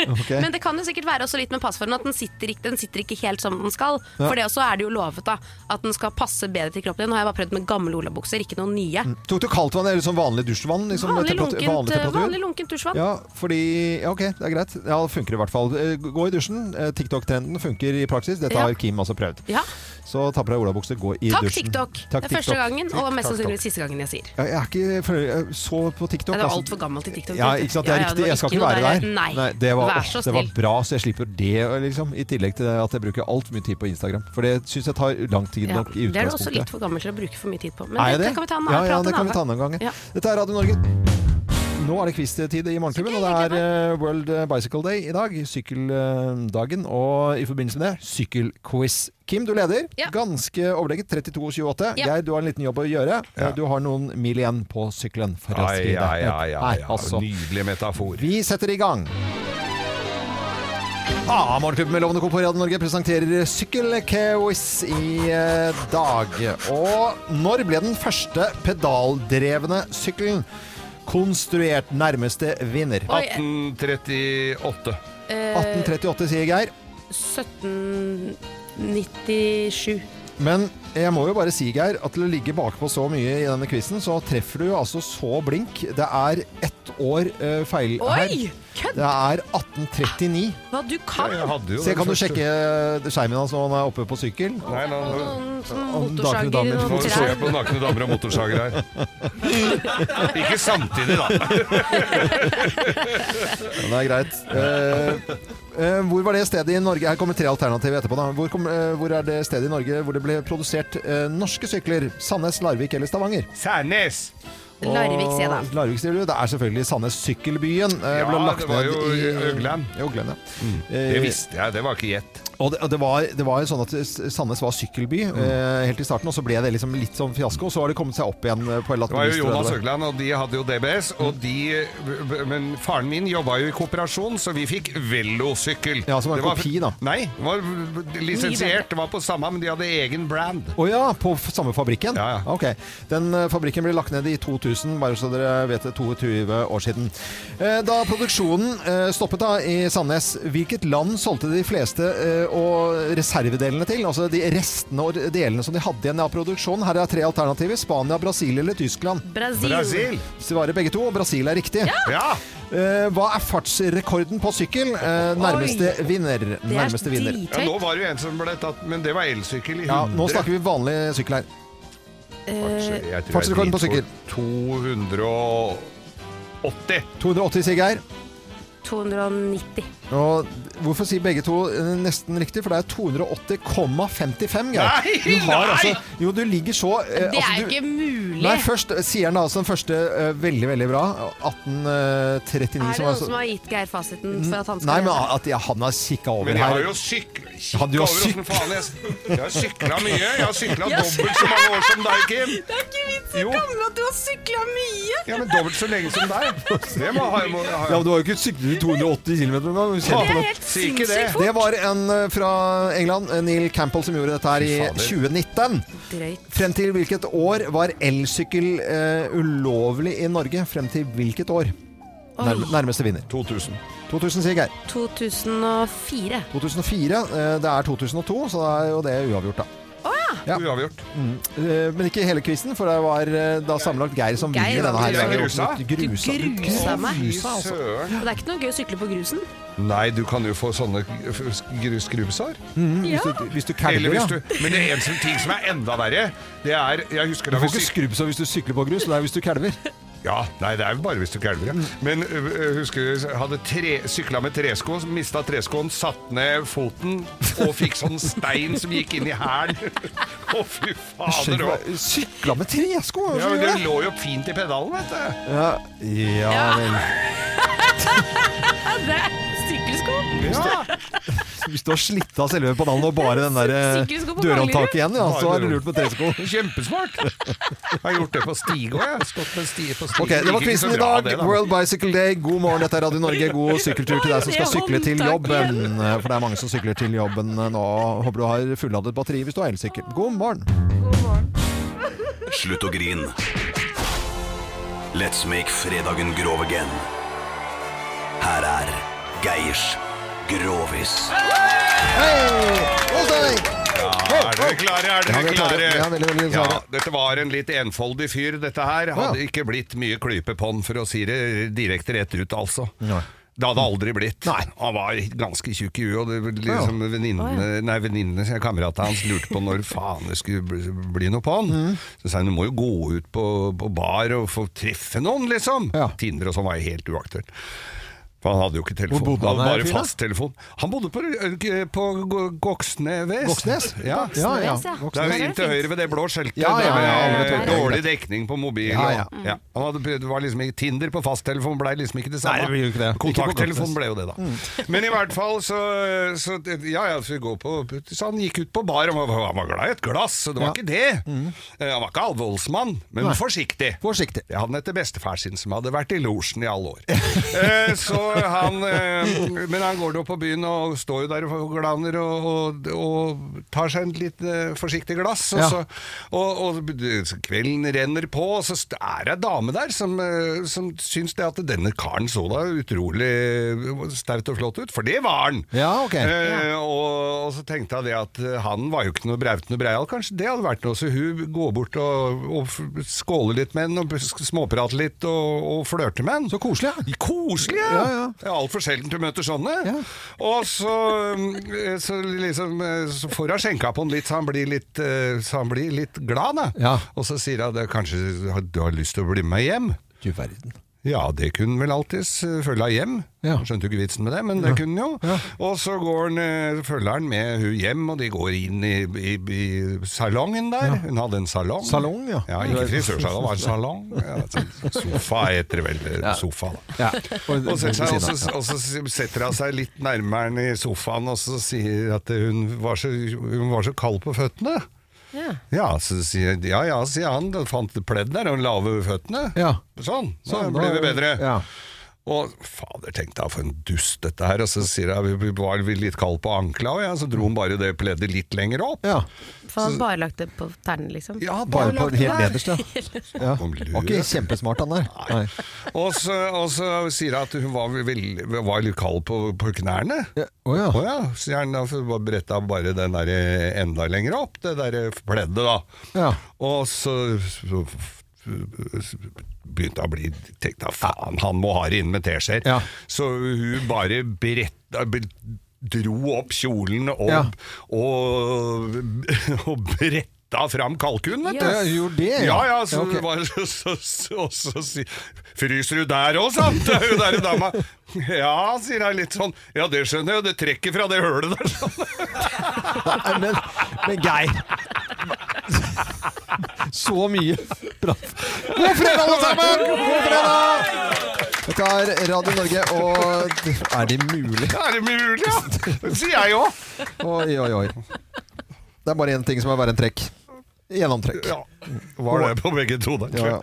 Speaker 1: Ok.
Speaker 3: Men det kan jo sikkert være også litt med passformen at den sitter ikke, den sitter ikke helt som den skal.
Speaker 1: Ja.
Speaker 3: For det også er det jo lovet da, at den skal passe bedre til kroppen din. Nå har jeg bare prøvd med gamle olabukser, ikke noen nye.
Speaker 1: Mm. Tok du kaldtvann eller sånn vanlig dusjvann? Liksom,
Speaker 3: Vanlig
Speaker 1: temperat-
Speaker 3: lunkent-
Speaker 1: temperatur?
Speaker 3: vanlig lunkent dusjvann.
Speaker 1: Ja, fordi Ja, ok, det er greit. Ja, det funker i hvert fall. Eh, Gå i dusjen. Eh, TikTok-trenden funker i praksis. Dette
Speaker 3: Ja.
Speaker 1: har Kim også prøvd.
Speaker 3: Ja.
Speaker 1: Så ta på deg olabukse, gå i
Speaker 3: Takk,
Speaker 1: dusjen.
Speaker 3: TikTok.
Speaker 1: Takk,
Speaker 3: det er første
Speaker 1: TikTok.
Speaker 3: gangen, og mest
Speaker 1: Takk,
Speaker 3: sannsynlig siste gangen jeg sier.
Speaker 1: Ja, Jeg er ikke føler- jeg så på TikTok.
Speaker 3: Nei, det er
Speaker 1: altså.
Speaker 3: altfor gammelt til TikTok.
Speaker 1: Ja, ikke sant? Det er
Speaker 3: Ja, ja, det
Speaker 1: riktig.
Speaker 3: var
Speaker 1: Jeg skal
Speaker 3: ikke
Speaker 1: ikke
Speaker 3: noe
Speaker 1: være
Speaker 3: der.
Speaker 1: der.
Speaker 3: Nei.
Speaker 1: det var,
Speaker 3: Vær så
Speaker 1: åh, det var
Speaker 3: snill.
Speaker 1: bra, så jeg slipper det, liksom. I tillegg til at jeg bruker altfor mye tid på Instagram. For det syns jeg tar lang tid
Speaker 3: Ja,
Speaker 1: nok i utgangspunktet.
Speaker 3: det er du også litt for gammel til å bruke for mye tid på. Men
Speaker 1: Er jeg
Speaker 3: det,
Speaker 1: det?
Speaker 3: kan vi ta en
Speaker 1: Ja,
Speaker 3: annen
Speaker 1: ja,
Speaker 3: prat
Speaker 1: det
Speaker 3: en
Speaker 1: kan vi ta en
Speaker 3: annen
Speaker 1: annen gang.
Speaker 3: Ja.
Speaker 1: Dette er Radio Norge. Nå er det quiz-tid i Morgenklubben, og det er eh, World Bicycle Day i dag. Sykkeldagen. Og i forbindelse med det, sykkelquiz. Kim, du leder. Ganske overlegget. 32,28.
Speaker 2: Ja.
Speaker 1: Geir, du har en liten jobb å gjøre.
Speaker 2: Ja.
Speaker 1: Du har noen mil igjen på sykkelen. for å
Speaker 2: Ai,
Speaker 1: skride.
Speaker 2: ai, ai,
Speaker 1: Nei,
Speaker 2: ai,
Speaker 1: altså.
Speaker 2: ai. Nydelig metafor.
Speaker 1: Vi setter i gang. Ah, Morgenklubben med Lovende Co. på Radio Norge presenterer Sykkelquiz i eh, dag. Og når ble den første pedaldrevne sykkelen konstruert? Nærmeste vinner.
Speaker 2: 1838.
Speaker 3: Eh.
Speaker 1: 1838, sier Geir.
Speaker 3: 1797.
Speaker 1: Men jeg må jo bare si, Geir, at til å ligge bakpå så mye i denne quizen, så treffer du altså så blink. Det er ett år eh, feil her.
Speaker 3: Oi, kødd!
Speaker 1: Det er 1839.
Speaker 3: Hva du kan!
Speaker 1: Se, kan du sjekke eh, skjermen hans når han er oppe på sykkel?
Speaker 2: Nei, nå, nå.
Speaker 1: Nakne damer.
Speaker 3: Sånn og
Speaker 2: Nå så jeg på nakne damer og motorsager her. Ikke samtidig, da.
Speaker 1: Ja, det er greit. Eh, eh, hvor var det stedet i Norge Her kommer tre alternativer etterpå. Da. Hvor, kom, eh, hvor er det stedet i Norge hvor det ble produsert eh, norske sykler? Sandnes, Larvik eller Stavanger?
Speaker 2: Sandnes!
Speaker 1: Og
Speaker 3: Larvik, sier jeg da.
Speaker 1: Larvik, sier du. Det er selvfølgelig Sandnes Sykkelbyen. eh,
Speaker 2: Ja,
Speaker 1: ble lagt
Speaker 2: det var
Speaker 1: ned
Speaker 2: jo
Speaker 1: i
Speaker 2: Øglen. Mm.
Speaker 1: Øglen, ja.
Speaker 2: Det
Speaker 1: Eh,
Speaker 2: visste jeg, det var ikke gjett.
Speaker 1: Og det, og det, var, det var jo sånn at Sandnes var sykkelby
Speaker 2: Mm.
Speaker 1: eh, helt i starten, og så ble det liksom litt sånn fiasko, og så har det kommet seg opp igjen. eh, på en eller annen
Speaker 2: Det var jo
Speaker 1: vis, tror jeg
Speaker 2: Jonas
Speaker 1: det var.
Speaker 2: Høgland, og de hadde jo DBS. Og de, men faren min jobba jo i kooperasjon, så vi fikk velosykkel.
Speaker 1: Ja, som var en kopi, da.
Speaker 2: Nei, det var lisensiert. Det var på samme, men de hadde egen brand.
Speaker 1: Å ja, på f- samme fabrikken? Ja, ja. Ok. Den eh, fabrikken ble lagt ned i 2000, bare så dere vet det, 22 år siden. Eh, Da produksjonen eh, stoppet da i Sandnes, hvilket land solgte de fleste eh, og reservedelene til? Altså de restene og delene som de hadde igjen av produksjonen. Her er tre alternativer. Spania, Brasil eller Tyskland?
Speaker 3: Brasil. Brasil.
Speaker 1: Svarer begge to, og Brasil er riktig.
Speaker 3: Ja.
Speaker 1: Eh, Hva er fartsrekorden på sykkel? Eh, Nærmeste
Speaker 2: Oi.
Speaker 1: vinner. Nærmeste vinner.
Speaker 2: Ja, nå var det jo en som ble tatt, men det var elsykkel i 100.
Speaker 1: Ja, nå snakker vi vanlig sykkel her.
Speaker 2: Jeg tror jeg
Speaker 1: Fartsrekorden på
Speaker 2: driter
Speaker 1: sykkel.
Speaker 2: på 280.
Speaker 1: 280, sier Geir.
Speaker 3: 290.
Speaker 1: Og hvorfor sier begge to eh, nesten riktig? For det er 280,55, Geir.
Speaker 3: Nei,
Speaker 1: Du har
Speaker 3: nei!
Speaker 1: altså Jo, du ligger så eh,
Speaker 3: Det er
Speaker 1: altså, du-
Speaker 3: ikke mulig.
Speaker 1: Nei, først sier han altså den første eh, veldig, veldig bra. eh, 1839
Speaker 3: er det
Speaker 1: var
Speaker 3: noen
Speaker 1: så-
Speaker 3: som har gitt Geir fasiten for at han
Speaker 1: altså-
Speaker 3: skal
Speaker 1: Nei, men at jeg, han har kikka over
Speaker 2: Men jeg
Speaker 1: her.
Speaker 2: har jo sykla
Speaker 1: Han, du har syk-
Speaker 2: faen jeg, jeg har sykla mye. Jeg har sykla
Speaker 3: Ja,
Speaker 2: dobbelt så mange år som deg, Kim.
Speaker 3: Det er ikke vits
Speaker 2: Jo.
Speaker 3: komme at du har sykla mye!
Speaker 2: Ja, men dobbelt så lenge som deg. Det må ha, må, ha.
Speaker 1: Ja, men Du har jo ikke syklet i 280 km. Det
Speaker 2: Det er helt Si ikke det. sinnssykt fort.
Speaker 1: Det var en eh, fra England, eh, Neil Campbell, som gjorde dette her i
Speaker 2: Fy fader.
Speaker 1: 2019.
Speaker 3: Drøyt.
Speaker 1: Frem til hvilket år var elsykkel eh, ulovlig i Norge? Frem til hvilket år? Nærm nærmeste vinner.
Speaker 2: 2000.
Speaker 1: 2000, sier Geir.
Speaker 3: 2004.
Speaker 1: 2004. eh, Det er 2002, så da er jo det uavgjort, da.
Speaker 2: Uavgjort.
Speaker 1: Mm. Eh, Men ikke hele quizen, for det var eh, da sammenlagt Geir som
Speaker 3: Geir
Speaker 1: vinner denne
Speaker 3: vant.
Speaker 1: her.
Speaker 2: Du grusa?
Speaker 1: Du grusa.
Speaker 3: Du grusa meg.
Speaker 1: Grusa, altså.
Speaker 3: Og det er ikke noe gøy å sykle på grusen.
Speaker 2: Nei, du kan jo få sånne grusgrubsar.
Speaker 1: Mm,
Speaker 3: Ja.
Speaker 1: hvis, du, hvis du kalver,
Speaker 2: Eller hvis
Speaker 1: ja.
Speaker 2: du, men det er en som- ting som er enda verre, det er Jeg husker
Speaker 1: Du
Speaker 2: da
Speaker 1: får
Speaker 2: vi
Speaker 1: ikke
Speaker 2: syk-
Speaker 1: skrubbsår hvis du sykler på grus, det er hvis du kalver.
Speaker 2: Ja, nei, det er jo bare hvis du kalver, ja.
Speaker 1: Mm.
Speaker 2: Men ø, ø, husker du hadde tre, sykla med tresko, mista treskoen, satt ned foten og fikk sånn stein som gikk inn i hælen. Å, fy fader. og-
Speaker 1: Sykla med tresko? hva
Speaker 2: Ja, men
Speaker 1: skal du
Speaker 2: det
Speaker 1: gjøre?
Speaker 2: lå jo fint i pedalen, vet du.
Speaker 1: Ja, ja vel.
Speaker 3: det er sykkelsko!
Speaker 2: Ja.
Speaker 1: Hvis du har slitt av selve pedalen og bare den der eh,
Speaker 3: Sykkelsko på Manglerud.
Speaker 1: dørhåndtaket igjen, ja, så
Speaker 2: Bare
Speaker 1: har du lurt på tresko.
Speaker 2: Kjempesmart. Jeg har gjort det på stige òg, jeg. Stått med stige på stige.
Speaker 1: Ok, Det var
Speaker 2: Gikk ikke så
Speaker 1: quizen i
Speaker 2: bra,
Speaker 1: dag.
Speaker 2: det, da.
Speaker 1: World Bicycle Day. God morgen, dette er Radio Norge. God sykkeltur til deg som skal
Speaker 2: Det er
Speaker 1: sykle til
Speaker 2: håndtak
Speaker 1: jobben. For det er mange som sykler til jobben nå. Håper du har fulladet batteri hvis du har elsykkel. God morgen.
Speaker 12: Slutt å grin. Let's make fredagen grov again. Her er Geirs Grovis.
Speaker 2: Ja, er dere klare? Er
Speaker 12: Ja,
Speaker 2: dere
Speaker 12: vi er klare. Vi
Speaker 2: klare?
Speaker 12: er veldig, veldig klare.
Speaker 2: Ja, dette var en litt enfoldig fyr, dette her. Hadde ikke blitt mye klype på han, for å si det direkte rett ut, altså. Det hadde aldri blitt. Han var ganske tjukk i huet, og det, liksom, venninnene, nei, venninnene, kameratene hans lurte på når faen det skulle bli, bli noe på han.
Speaker 12: Mm.
Speaker 2: Så sa han, du må jo gå ut på, på bar og få treffe noen, liksom. Tinder og sånn var jo helt uaktuelt. For han hadde jo ikke telefon.
Speaker 1: Hvor bodde han her,
Speaker 2: hadde
Speaker 1: fyren
Speaker 2: bare
Speaker 1: da?
Speaker 2: fasttelefon. Han bodde på, ø, på Gå- Goksnes.
Speaker 1: Goksnes?
Speaker 2: Ja.
Speaker 1: Goksnes, ja. Ja, ja.
Speaker 2: Det er
Speaker 1: Goksnes.
Speaker 2: jo inn til høyre ved det blå skjeltet.
Speaker 1: Ja, ja, ja,
Speaker 2: der
Speaker 1: ja, ja, ja.
Speaker 2: med Dårlig dekning på mobil.
Speaker 1: Ja, ja.
Speaker 2: og- ja. Han hadde prøvd, det var liksom ikke Tinder på fasttelefon blei liksom ikke det samme.
Speaker 1: Nei, det blir jo ikke det.
Speaker 2: Kontakttelefonen Sånn ble jo det, da.
Speaker 1: Mm.
Speaker 2: Men i hvert fall så, så Ja ja, så, vi går på, så han gikk ut på bar, og han var- han var glad i et glass, så det var
Speaker 1: Ja. Mm.
Speaker 2: ikke det. Eh, Han var ikke allvoldsmann, men
Speaker 1: Nei.
Speaker 2: forsiktig.
Speaker 1: Forsiktig.
Speaker 2: Ja, han etter bestefar sin, som hadde vært i losjen i alle år. Eh, så han eh, Men han går da på byen og står jo der og glaner og, og, og tar seg en litt eh, forsiktig glass, og
Speaker 1: Ja.
Speaker 2: så og, og kvelden renner på, og så st- er det ei dame der som, eh, som syns det at denne karen så da utrolig staut og flott ut, for det var han!
Speaker 1: Ja, ok.
Speaker 2: Eh, og, og så tenkte jeg det at eh, han var jo ikke noe brautende breial, kanskje det hadde vært noe, så hun går bort og, og f- skåler litt med han, og s- småprater litt og, og flørter med han. Så
Speaker 1: koselig,
Speaker 2: ja! Koselig, ja!
Speaker 1: Ja, ja.
Speaker 2: Det er altfor sjelden du møter sånne. Og så, eh, så, liksom, eh, så får hun skjenka på han litt, så han blir litt, eh, så han blir litt glad. Da. Og så sier hun at kanskje du har lyst til å bli med hjem.
Speaker 1: Du verden.
Speaker 2: Ja, det kunne han vel alltids eh, følge hjem. Skjønte jo ikke vitsen med det, men det
Speaker 13: Ja.
Speaker 2: kunne han jo. Og så går han, eh, følger han med hun hjem, og de går inn i, i, i salongen der. Hun hadde en salong.
Speaker 1: Salong, ja.
Speaker 2: ja ikke frisørsalong, det var en salong. Ja, altså, sofa heter det vel eh, sofa, da.
Speaker 1: Ja.
Speaker 2: Og, setter seg, og,
Speaker 1: Ja.
Speaker 2: så, og så setter hun seg litt nærmere han i sofaen og så sier at hun var så, hun var så kald på føttene.
Speaker 14: Ja.
Speaker 2: Ja, så sier, ja, ja, sier han. Du fant et pledd der og lave føttene. Sånn, så
Speaker 1: Sånn,
Speaker 2: ble
Speaker 1: da-
Speaker 2: vi bedre. Og fader, tenkte jeg, for en dust dette her. Og så sier jeg, vi var vi litt kald på ankla, og ja, så dro hun bare det pleddet litt lenger opp.
Speaker 3: For han bare lagt det på tærne, liksom.
Speaker 2: Ja,
Speaker 1: Bare på helt nederst, ja. ja.
Speaker 2: Om lur.
Speaker 1: Var ikke kjempesmart, han der. Nei.
Speaker 2: Og så, og så sier hun at hun var, vel- var litt kald på, på knærne. Å
Speaker 1: ja.
Speaker 2: Sier han da for bare bretta bare den der eh, enda lenger opp, det der eh, pleddet da.
Speaker 1: Ja.
Speaker 2: Og så, så begynte jeg å bli Tenkte jeg, faen, han må ha det inn med teskjeer. Så hun bare bretta be- Dro opp kjolen og,
Speaker 1: Ja.
Speaker 2: og, og bretta fram kalkunen, vet du.
Speaker 1: Ja, gjorde det,
Speaker 2: Ja,
Speaker 1: ja.
Speaker 2: ja,
Speaker 1: Ja,
Speaker 2: så
Speaker 1: ok.
Speaker 2: det var så, så, så, og så si, Fryser du der òg, sant? Det er jo der dama Ja, sier jeg litt sånn. Ja, det skjønner jeg, det trekker fra det hølet der.
Speaker 1: Nei, men, men Geir Så mye bra. God fredag, alle sammen! God fredag! Dette er Radio Norge, og Er det mulig?
Speaker 2: Er det mulig, ja? Det sier jeg òg.
Speaker 1: Oi, oi, oi. Det er bare én ting som er verre enn trekk. Gjennomtrekk.
Speaker 2: Ja, Var det på begge to, da?
Speaker 1: Ja, ja.